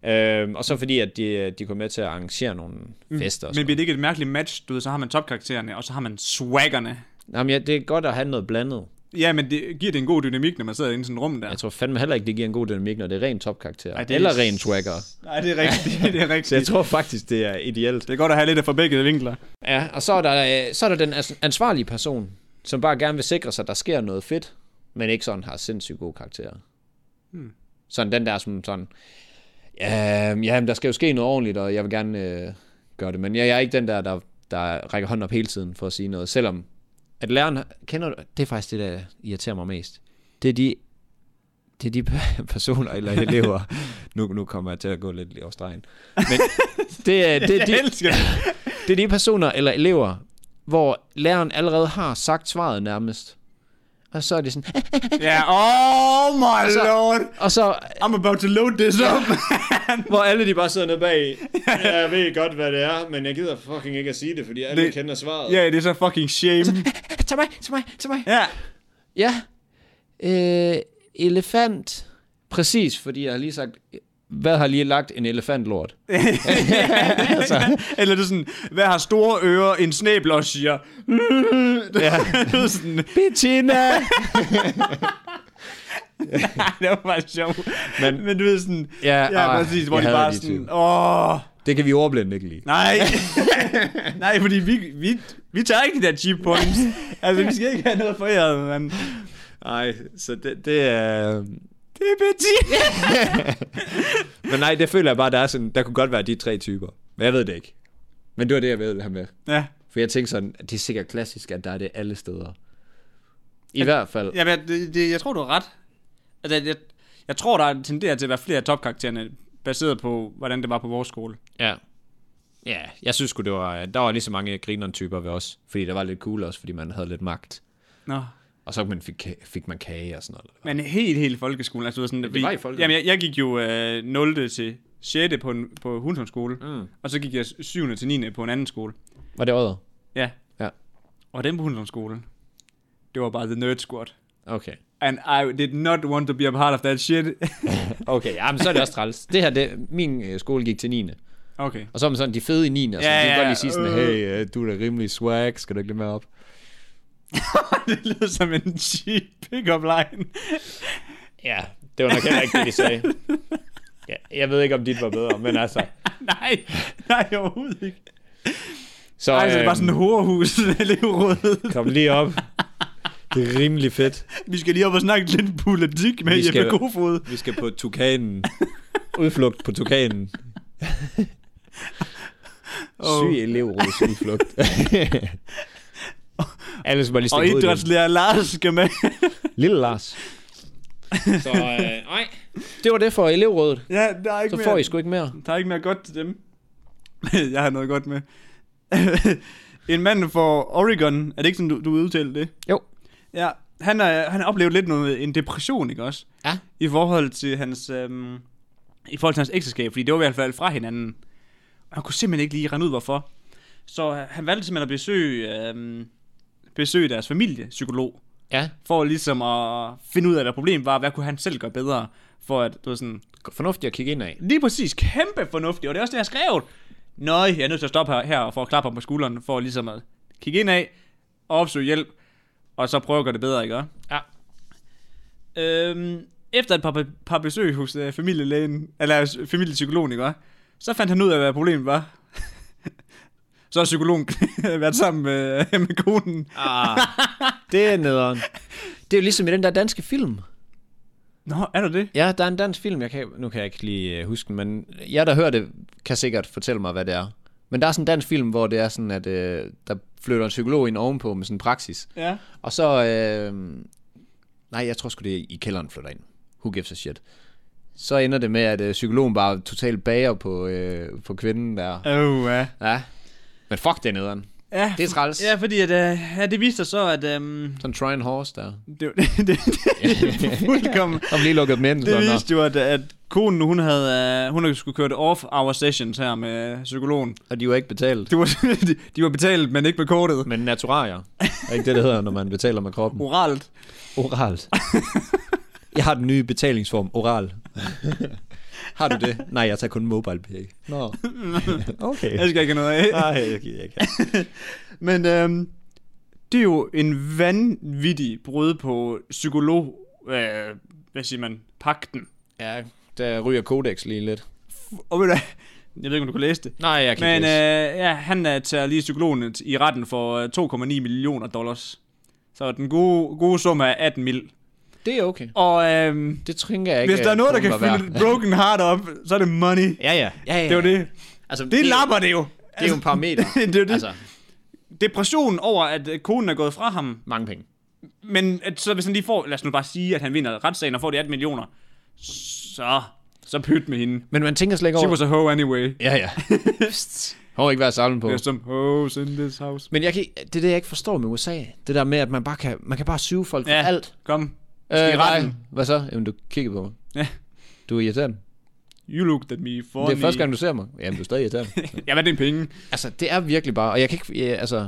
Øhm, og så fordi, at de, de kom med til at arrangere nogle fester. og
Men
sådan
bliver det ikke et mærkeligt match? Du ved, så har man topkaraktererne, og så har man swaggerne.
noget. Jamen, ja, det er godt at have noget blandet.
Ja, men det giver det en god dynamik, når man sidder inde i sådan et rum der.
Jeg tror fandme heller ikke, det giver en god dynamik, når det er ren topkarakter.
Ej,
Ej,
det er-
Eller ren swagger.
Nej, det er rigtigt. det er
Så jeg
rigtigt.
tror faktisk, det er ideelt.
Det er godt at have lidt af fra begge vinkler.
Ja, og så er, der, øh, så er der den ans- ansvarlige person, som bare gerne vil sikre sig, at der sker noget fedt, men ikke sådan har sindssygt gode karakterer.
Hmm.
Sådan den der som sådan, ja, mm, ja, men der skal jo ske noget ordentligt, og jeg vil gerne øh, gøre det, men jeg, jeg er ikke den der, der, der rækker hånden op hele tiden for at sige noget, selvom at læreren, har- kender du, det er faktisk det, der irriterer mig mest. Det er de, det er de pe- personer eller elever, nu, nu kommer jeg til at gå lidt over stregen, men det, er- det, er
Jeg
de,
elsker det.
det er de personer eller elever, hvor læreren allerede har sagt svaret nærmest. Og så er det sådan,
Ja, oh my
så-
lord.
og så,
I'm about to load this up.
hvor alle de bare sidder nede bag. Jeg ved godt, hvad det er, men jeg gider fucking ikke at sige det, fordi alle
Det-
kender svaret.
ja, det er så fucking shame.
Tag mig, tag mig, tag mig.
Ja.
Ja. Øh, elefant. Præcis, fordi jeg har lige sagt, hvad har lige lagt en elefantlort? Altså-
Eller det er sådan, hvad har store ører, en snæblås siger. Ja. det er sådan,
Bettina!
Nej, det var bare sjovt.
Men-
Men, men du ved sådan,
Ja,
ja, ja
ah,
præcis, hvor
jeg
de
hader
bare
de
sådan,
typer.
åh,
Det kan vi ordblinde ikke lide.
nej, nej, fordi vi, vi, vi tager ikke de der cheap points. altså, vi skal ikke have noget foræret, mand.
Nej, så det, det er... øhm,
Det er Betty.
Men nej, det føler jeg bare, der er sådan, der kunne godt være de tre typer. Men jeg ved det ikke. Men det var det, jeg ved det her med.
ja,
For jeg tænkte sådan, at det er sikkert klassisk, at der er det alle steder. I hvert fald.
ja men det, det, jeg tror, du har ret. Altså, jeg, jeg tror, der tenderer til at være flere af topkaraktererne, baseret på, hvordan det var på vores skole.
Ja. Ja, jeg synes sgu, det var, der var lige så mange grineren typer ved os. Fordi der var lidt cool også, fordi man havde lidt magt.
Nå.
Og så man fik, ka- fik man kage og sådan noget.
Men helt, helt i folkeskolen. Altså, du ved sådan,
det var i folkeskolen.
Jamen, jeg, jeg gik jo øh, 0. til 6. på, en, på Hundsholm skole,
Mm.
og så gik jeg 7. til 9. på en anden skole.
Var det året?
Ja.
Ja.
Og den på Hundsholm skole, det var bare The Nerd Squad.
Okay.
and I did not want to be a part of that shit.
Okay, jamen, så er det også træls. Det her, det, min øh, skole gik til 9.
okay.
Og så er man sådan de fede i 9. Og så
Ja,
ja, de kan
ja,
godt lige sige sådan,
øh.
hey, øh, du er da rimelig swag, skal du ikke lidt mere op?
det lyder som en cheap pick-up line.
Ja, det var nok heller ikke det, de sagde. Ja, jeg ved ikke, om dit var bedre, men altså...
nej, nej, overhovedet ikke.
Så,
Nej, så er det
øhm,
bare sådan en horehus, elevrådet.
Kom lige op. Det er rimelig fedt.
Vi skal lige op og snakke lidt politik med
Vi skal-
Jeppe Kofod.
Vi skal på Tukanen. Udflugt på Tukanen.
Åh.
Syg elevråds udflugt. Alle skal bare lige
Og
stikke hovedet i
idrætslærer Lars skal med.
den. Lille Lars. Så øh, nej, det var det for elevrådet.
ja, der er ikke
Så
mere.
får I sgu ikke mere.
Der er ikke mere godt til dem. jeg har noget godt med. en mand fra Oregon, er det ikke sådan, du, du udtalte det?
Jo.
Ja, han har han har oplevet lidt noget, en depression, ikke også?
Ja.
I forhold til hans, øhm, i forhold til hans ægteskab, fordi det var i hvert fald fra hinanden. Og han kunne simpelthen ikke lige regne ud, hvorfor. Så øh, han valgte simpelthen at besøge, øhm, besøge deres familiepsykolog,
Ja,
for ligesom at finde ud af, hvad problemet var, og hvad kunne han selv gøre bedre, for at, du ved, sådan,
fornuftigt at kigge ind af.
Lige præcis, kæmpe fornuftigt, og det er også det, jeg skrev. Nøj, jeg er nødt til at stoppe her, her for at klappe ham på skulderen, for ligesom at kigge ind af, opsøge hjælp, og så prøve at gøre det bedre, ikke?
Ja.
Øhm, efter et par, par besøg hos øh, familielægen, eller hos familiepsykologen, ikke? Så fandt han ud af, hvad problemet var. så har psykologen været sammen med, øh, med konen.
Ah, det er nederen. Det er jo ligesom i den der danske film.
Nå, er du det?
Ja, der er en dansk film, jeg kan, nu kan jeg ikke lige øh, huske den, men jeg, der hører det, kan sikkert fortælle mig, hvad det er. Men der er sådan en dansk film, hvor det er sådan, at øh, der flytter en psykolog ind ovenpå med sådan en praksis.
Ja.
Og så, øh, nej, jeg tror sgu det er i kælderen flytter ind. Who gives a shit. Så ender det med, at øh, psykologen bare totalt bager på, øh, på kvinden der.
Oh, ja.
Ja. Men fuck det er nederen.
Ja,
Det er træls.
ja, fordi at, øh, ja, det viste sig så, at øhm,
Sådan Trojan Horse der.
det, var- det, det, det, fuldkommen
Om lige lukket dem ind.
Det
sådan, nå.
viste jo, at, at konen, hun havde, øh, hun skulle køre det off-hour sessions her med øh, psykologen.
Og de var ikke betalt.
Det var, de, de var betalt, men ikke med kortet.
Men naturarier. Er ikke det, det hedder, når man betaler med kroppen?
Oralt.
Oralt. jeg har den nye betalingsform, oral. har du det? Nej, jeg tager kun mobile pay. Nå.
Jeg
Okay.
skal ikke have noget af.
Nej, jeg gider ikke.
Men øhm, det er jo en vanvittig brud på psykolog... Øh, hvad siger man? Pakten.
Ja, der ryger Codex lige lidt.
Og ved du hvad? Jeg ved ikke, om du kunne læse det.
Nej, jeg kan
Men
ikke læse.
øh, ja, han øh, tager lige psykologen i retten for øh, 2,9 millioner dollars. Så den gode, gode sum er 18 mil.
Det er okay.
Og øhm,
Det tænker jeg ikke.
Hvis der er noget, der
at
kan
kronen var
fylde et
værd.
broken heart op, så er det money.
Ja, ja. ja, ja.
Det er jo det.
Altså,
Det lapper det jo. Altså,
Det er jo en parameter.
det er jo det. Altså.
altså,
Depression over, at øh, konen er gået fra ham.
mange penge.
Men at, så hvis han lige får, lad os nu bare sige, at han vinder retssagen og får de 18 millioner, så, så pyt med hende.
Men man tænker slet ikke
She
over...
was a hoe anyway.
Ja, ja. Har ikke været sammen på.
There's some hoes in this house.
Men jeg kan, ikke- det er det, jeg ikke forstår med USA. Det der med, at man bare kan, man kan bare syge folk for
Ja.
alt.
Kom,
Øh,
Skal i
nej.
retten.
Hvad så? Jamen, du kigger på mig.
Ja.
Du er irriterende.
you looked at me funny.
Det er første gang, du ser mig. Jamen, du er stadig irriterende.
Jeg vandt en penge.
altså, det er virkelig bare... Og jeg kan ikke... Ja, altså,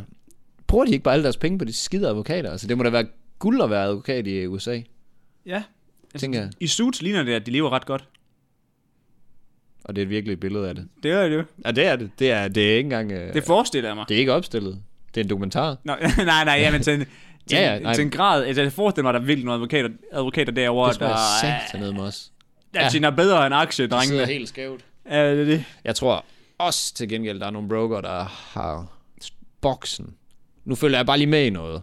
bruger de ikke bare alle deres penge på de skide advokater? Altså, det må da være guld at være advokat i USA,
Ja.
tænker jeg.
I Suits ligner det, at de lever ret godt.
Og det er et virkelig billede af det.
Det er det jo.
Ja, det er det. Det er, det er ikke engang... Øh,
Det forestiller jeg mig.
det er ikke opstillet. Det er en dokumentar.
Nå, nej, nej, jamen til en, til,
Ja, ja,
ja,
nej.
ja, til en grad, altså jeg forestiller mig, at der er virkelig nogle advokater, advokater derovre,
Det
der,
tror jeg
er-
satan ned med os.
der
Ja.
tjener bedre end aktie,
Det er
drengene.
helt skævt.
Ja, det er det.
Jeg tror også til gengæld, der er nogle broker, der har boksen. Nu følger jeg bare lige med i noget.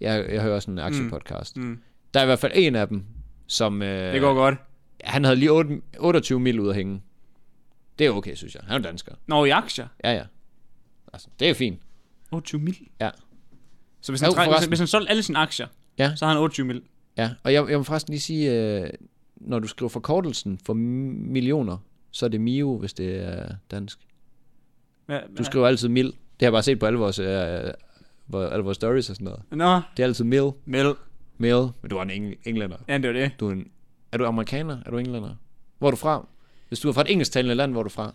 Jeg, jeg hører sådan en aktiepodcast. Mm.
Mm.
Der er i hvert fald en af dem, som... Øh,
Det går godt.
Han havde lige 8, 28 mil ud at hænge. Det er okay, synes jeg. Han er jo dansker.
Nå, i aktier?
Ja, ja. Altså, det er fint.
28 mil?
Ja.
Så hvis han,
Jo,
træ, hvis,
forresten.
han, hvis han solgte alle sine aktier,
Ja.
så har han 28 mil.
Ja, og jeg, jeg må forresten lige sige, øh, når du skriver forkortelsen for m- millioner, så er det Mio, hvis det er dansk.
Ja,
Du skriver altid mil. Det har jeg bare set på alle vores, øh, hvor- alle vores stories og sådan noget.
Nå,
Det er altid mil.
mil.
Mil. Men du er en eng- englænder.
Ja, det var det.
Du er, en, er du amerikaner? Er du englænder? Hvor er du fra? Hvis du er fra et engelsktalende land, hvor er du fra?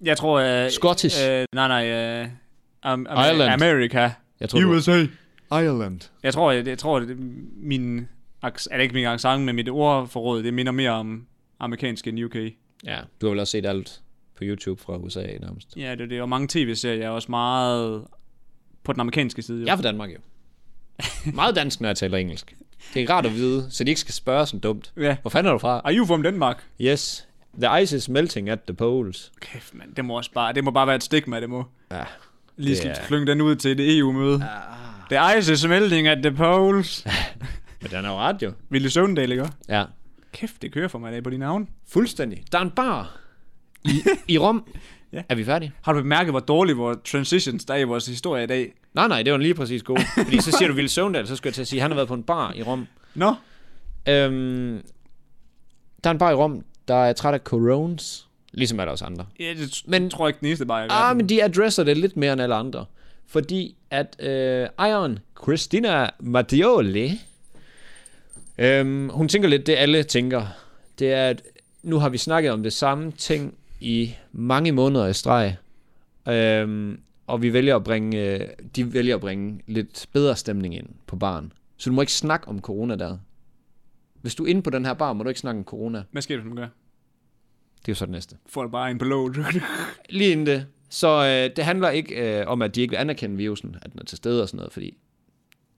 Jeg tror... Uh,
Scottish.
Uh, nej, nej. Uh, am, am,
Ireland.
America.
Jeg tror, du
USA.
Ireland.
Jeg tror, jeg, jeg tror, at min aks- er det ikke min accent, men mit ordforråd, det minder mere om amerikansk end UK.
Ja, du har vel også set alt på YouTube fra USA nærmest.
Ja, det er det. Og mange tv-serier er også meget på den amerikanske side. Jo.
Jeg er fra Danmark jo. Meget dansk, når jeg taler engelsk. Det er rart at vide, så de ikke skal spørge sådan dumt.
Ja.
Hvor fanden er du fra?
Are you from Denmark?
Yes, the ice is melting at the poles.
Kæft, mand. Det må, også bare, det må bare være et stigma, det må.
Ja,
Lige
Det
skal
er-
klynge den ud til et EU-møde. Ah. The ice is melting at the poles.
men den er jo ret jo.
Ville Søvndal, ikke?
Ja,
Kæft, det kører for mig i dag på dine navn.
fuldstændig. Der er en bar i, i Rom.
Ja.
Er vi færdige?
Har du bemærket, hvor dårlig vores transitions der er i vores historie i dag?
Nej, nej, det var lige præcis god. Fordi så siger du Ville Søvndal, så skal jeg til at sige, at han har været på en bar i Rom.
Nå,
Øhm, der er en bar i Rom, der er træt af corones, ligesom er der også andre.
ja, det men,
Men-
tror jeg ikke den eneste bare. i
Ah,
verden.
men de addresser det lidt mere end alle andre. Fordi at øh, ejeren Christina Mattioli, øhm, hun tænker lidt det, alle tænker. Det er, at nu har vi snakket om det samme ting i mange måneder i streg. Øhm, og vi vælger at bringe, øh, de vælger at bringe lidt bedre stemning ind på baren. Så du må ikke snakke om corona der. Hvis du er inde på den her bar, må du ikke snakke om corona.
Hvad sker der, hun gør?
Det er jo så det næste.
Får det bare en på låget.
lige inden det. Så øh, det handler ikke øh, om, at de ikke vil anerkende virusen, at den er til stede og sådan noget, fordi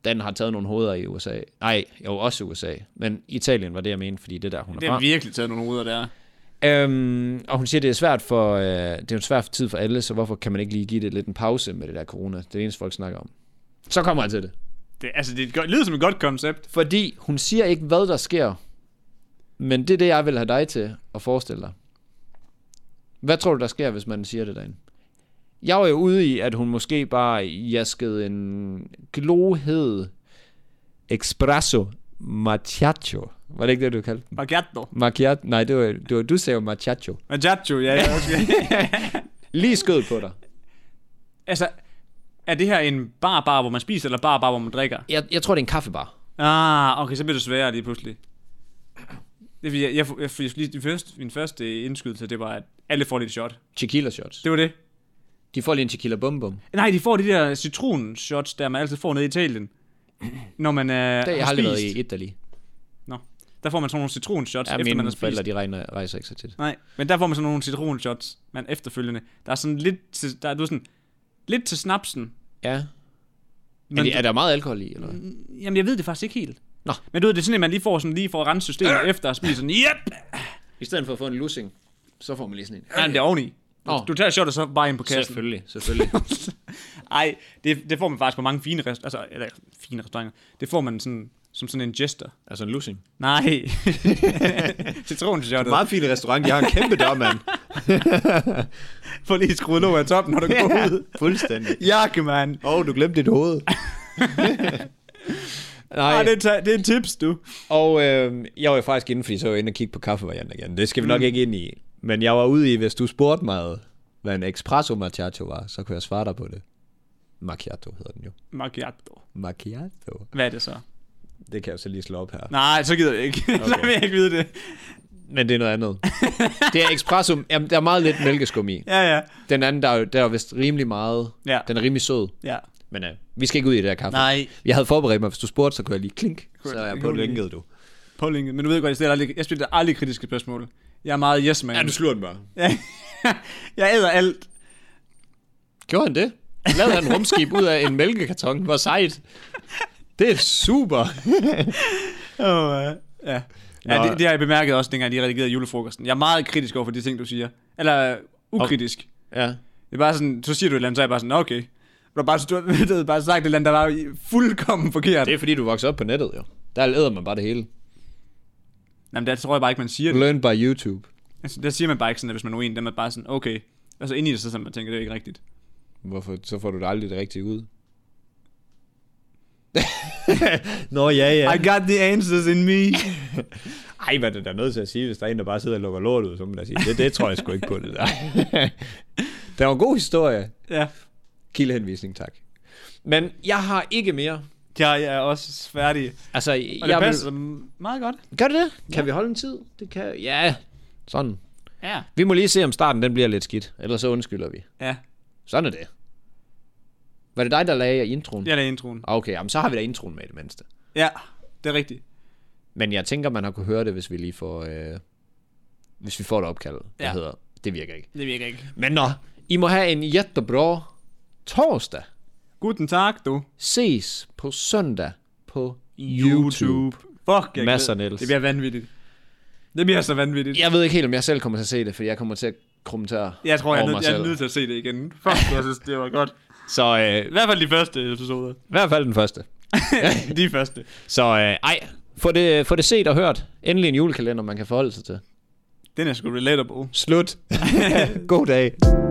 den har taget nogle hoveder i USA. Nej, jo også i USA, men Italien var det, jeg mente, fordi det er der, hun
det
er
har virkelig taget nogle ruder der.
fra. Øhm, og hun siger, det er svært for, øh, det er jo en svær tid for alle, så hvorfor kan man ikke lige give det lidt en pause med det der corona? Det er det eneste, folk snakker om. Så kommer jeg til det.
Det, altså, det gør- lyder som et godt koncept.
Fordi hun siger ikke, hvad der sker, men det er det, jeg vil have dig til at forestille dig. Hvad tror du, der sker, hvis man siger det derinde? Jeg var jo ude i, at hun måske bare jaskede en glohed espresso macchiato. Var det ikke det, du kaldte den?
Bagatto.
Macchiato? Nej, det var, det var, du sagde jo macchiato.
Bagatto, ja. ja okay.
Lige skød på dig.
altså, er det her en bar-bar, hvor man spiser, eller bar-bar, hvor man drikker?
Jeg, jeg tror, det er en kaffebar.
Ah, okay, så bliver det sværere lige pludselig. Det er fordi, jeg, jeg, jeg, jeg lige, min, første, min første indskydelse, det var, at alle får lidt shot.
Tequila shots.
Det var det.
De får lige en tequila bum bum.
Nej, de får de der citron-shots, der man altid får nede i Italien. Når man øh,
Det har jeg
har
aldrig været
spist.
i Italy.
Nå. Der får man sådan nogle citron-shots,
Ja,
ja, efter man har
mine
spist.
forældre, de regner, rejser ikke så tit.
Nej, men der får man sådan nogle citronshots, man efterfølgende. Der er sådan lidt til, der er, du ved, sådan, lidt til snapsen.
Ja. Men er,
Men,
det, er der meget alkohol i, eller hvad?
jamen, jeg ved det faktisk ikke helt.
Nå.
Men du ved, det er sådan, at man lige får, sådan, lige får renset systemet efter og spiser sådan, yep!
I stedet for at få en lussing, så får man lige sådan en.
Nej, men det er oveni. Du,
Nå.
du tager shot og så bare ind på kassen.
Selvfølgelig, selvfølgelig.
Ej, det, det får man faktisk på mange fine restauranter. Altså, eller fine restauranter. Det får man sådan, som sådan en gester.
altså en lussing.
Nej. Citronshottet.
Meget fin restaurant, jeg har en kæmpe dørmand.
Få lige skruet låg af toppen, når du går ud.
fuldstændig.
Jakke, mand.
Åh, oh, du glemte dit hoved. Nej,
Ej,
Ej,
det,
det...
er ta- det er en tips, du.
og øh, jeg var jo faktisk inde, fordi så var jeg inde og kigge på kaffevarianten igen. Det skal vi nok ikke ind i. Men jeg var ude i, hvis du spurgte mig, hvad en espresso macchiato var, så kunne jeg svare dig på det. Macchiato hedder den jo.
Macchiato.
Macchiato.
Hvad er det så?
Det kan jeg så lige slå op her.
Nej, så gider jeg ikke. Okay. så vil jeg ikke vide det.
Men det er noget andet. det er espresso. Jamen, der er meget lidt mælkeskum i.
Ja, ja.
Den anden, der er, jo- der er jo vist rimelig meget.
Ja.
Den er rimelig sød.
ja.
Men øh, vi skal ikke ud i det der kaffe.
Nej.
Jeg havde forberedt mig, hvis du spurgte, så kunne jeg lige klink. Så er jeg
Det
på
kunne du lige.
linket, du.
På linket. Men du ved godt, jeg stiller aldrig, jeg stiller aldrig kritiske spørgsmål. Jeg er meget yes, man.
slår den bare.
Ja. jeg æder alt.
Gjorde han det? Lavede han en rumskib ud af en mælkekarton? Hvor sejt. Det er super.
Oh, uh, ja. Ja,
Nå.
det, det, har jeg bemærket også, dengang de redigerede julefrokosten. Jeg er meget kritisk over for de ting, du siger. Eller øh, ukritisk.
ja.
Det er bare sådan, så siger du et eller andet, så er jeg bare sådan, "Nå, okay. Du har bare, du, har- du har bare sagt et eller andet, der var i- fuldkommen forkert.
Det er fordi, du voksede op på nettet, jo. Der æder man bare det hele.
Jamen, der tror jeg bare ikke, man siger det.
Learn by YouTube.
Altså, der siger man bare ikke sådan, at hvis man er uenig, der er man bare sådan, okay. Og så ind i det, så sådan, man tænker, det er ikke rigtigt.
Hvorfor? Så får du det aldrig det rigtige ud. Nå, ja, ja.
I got the answers in me.
Ej, hvad er det der nødt til at sige, hvis der er en, der bare sidder og lukker lort ud, så må man da sige, det, det tror jeg sgu ikke på, det der. det var en god historie.
ja.
Kildehenvisning, tak. Men jeg har ikke mere.
Jeg er også færdig.
Altså,
Og det
jeg
jeg passer vil... meget godt.
Vil... Gør det det? Kan vi holde en tid? Det kan... Ja, sådan.
Ja.
Vi må lige se, om starten den bliver lidt skidt. Ellers så undskylder vi.
Ja,
Sådan er det. Var det dig, der lagde introen?
jeg lavede introen.
Okay, jamen, så har vi da introen med i det mindste.
Ja, det er rigtigt.
Men jeg tænker, man har kunne høre det, hvis vi lige får, øh, hvis vi får et opkald, der
Ja.
hedder, det virker ikke.
Det virker ikke.
Men nå, I må have en jättebra torsdag.
Guten tak, du.
Ses på søndag på YouTube.
YouTube. Fuck, jeg
Mads og
glæder-
Niels.
Det bliver vanvittigt. Det bliver så vanvittigt.
Jeg ved ikke helt, om jeg selv kommer til at se det, fordi jeg kommer til at kommentere
Jeg tror, jeg er,
over
nød,
mig
jeg er
selv.
nødt til at se det igen. Fuck, jeg synes, det var godt.
Så øh,
I hvert fald de første
i
episoder.
hvert fald den første.
de første.
Så øh, ej, få det, få det set og hørt. Endelig en julekalender, man kan forholde sig til.
Den er sgu relatable.
Slut. God dag.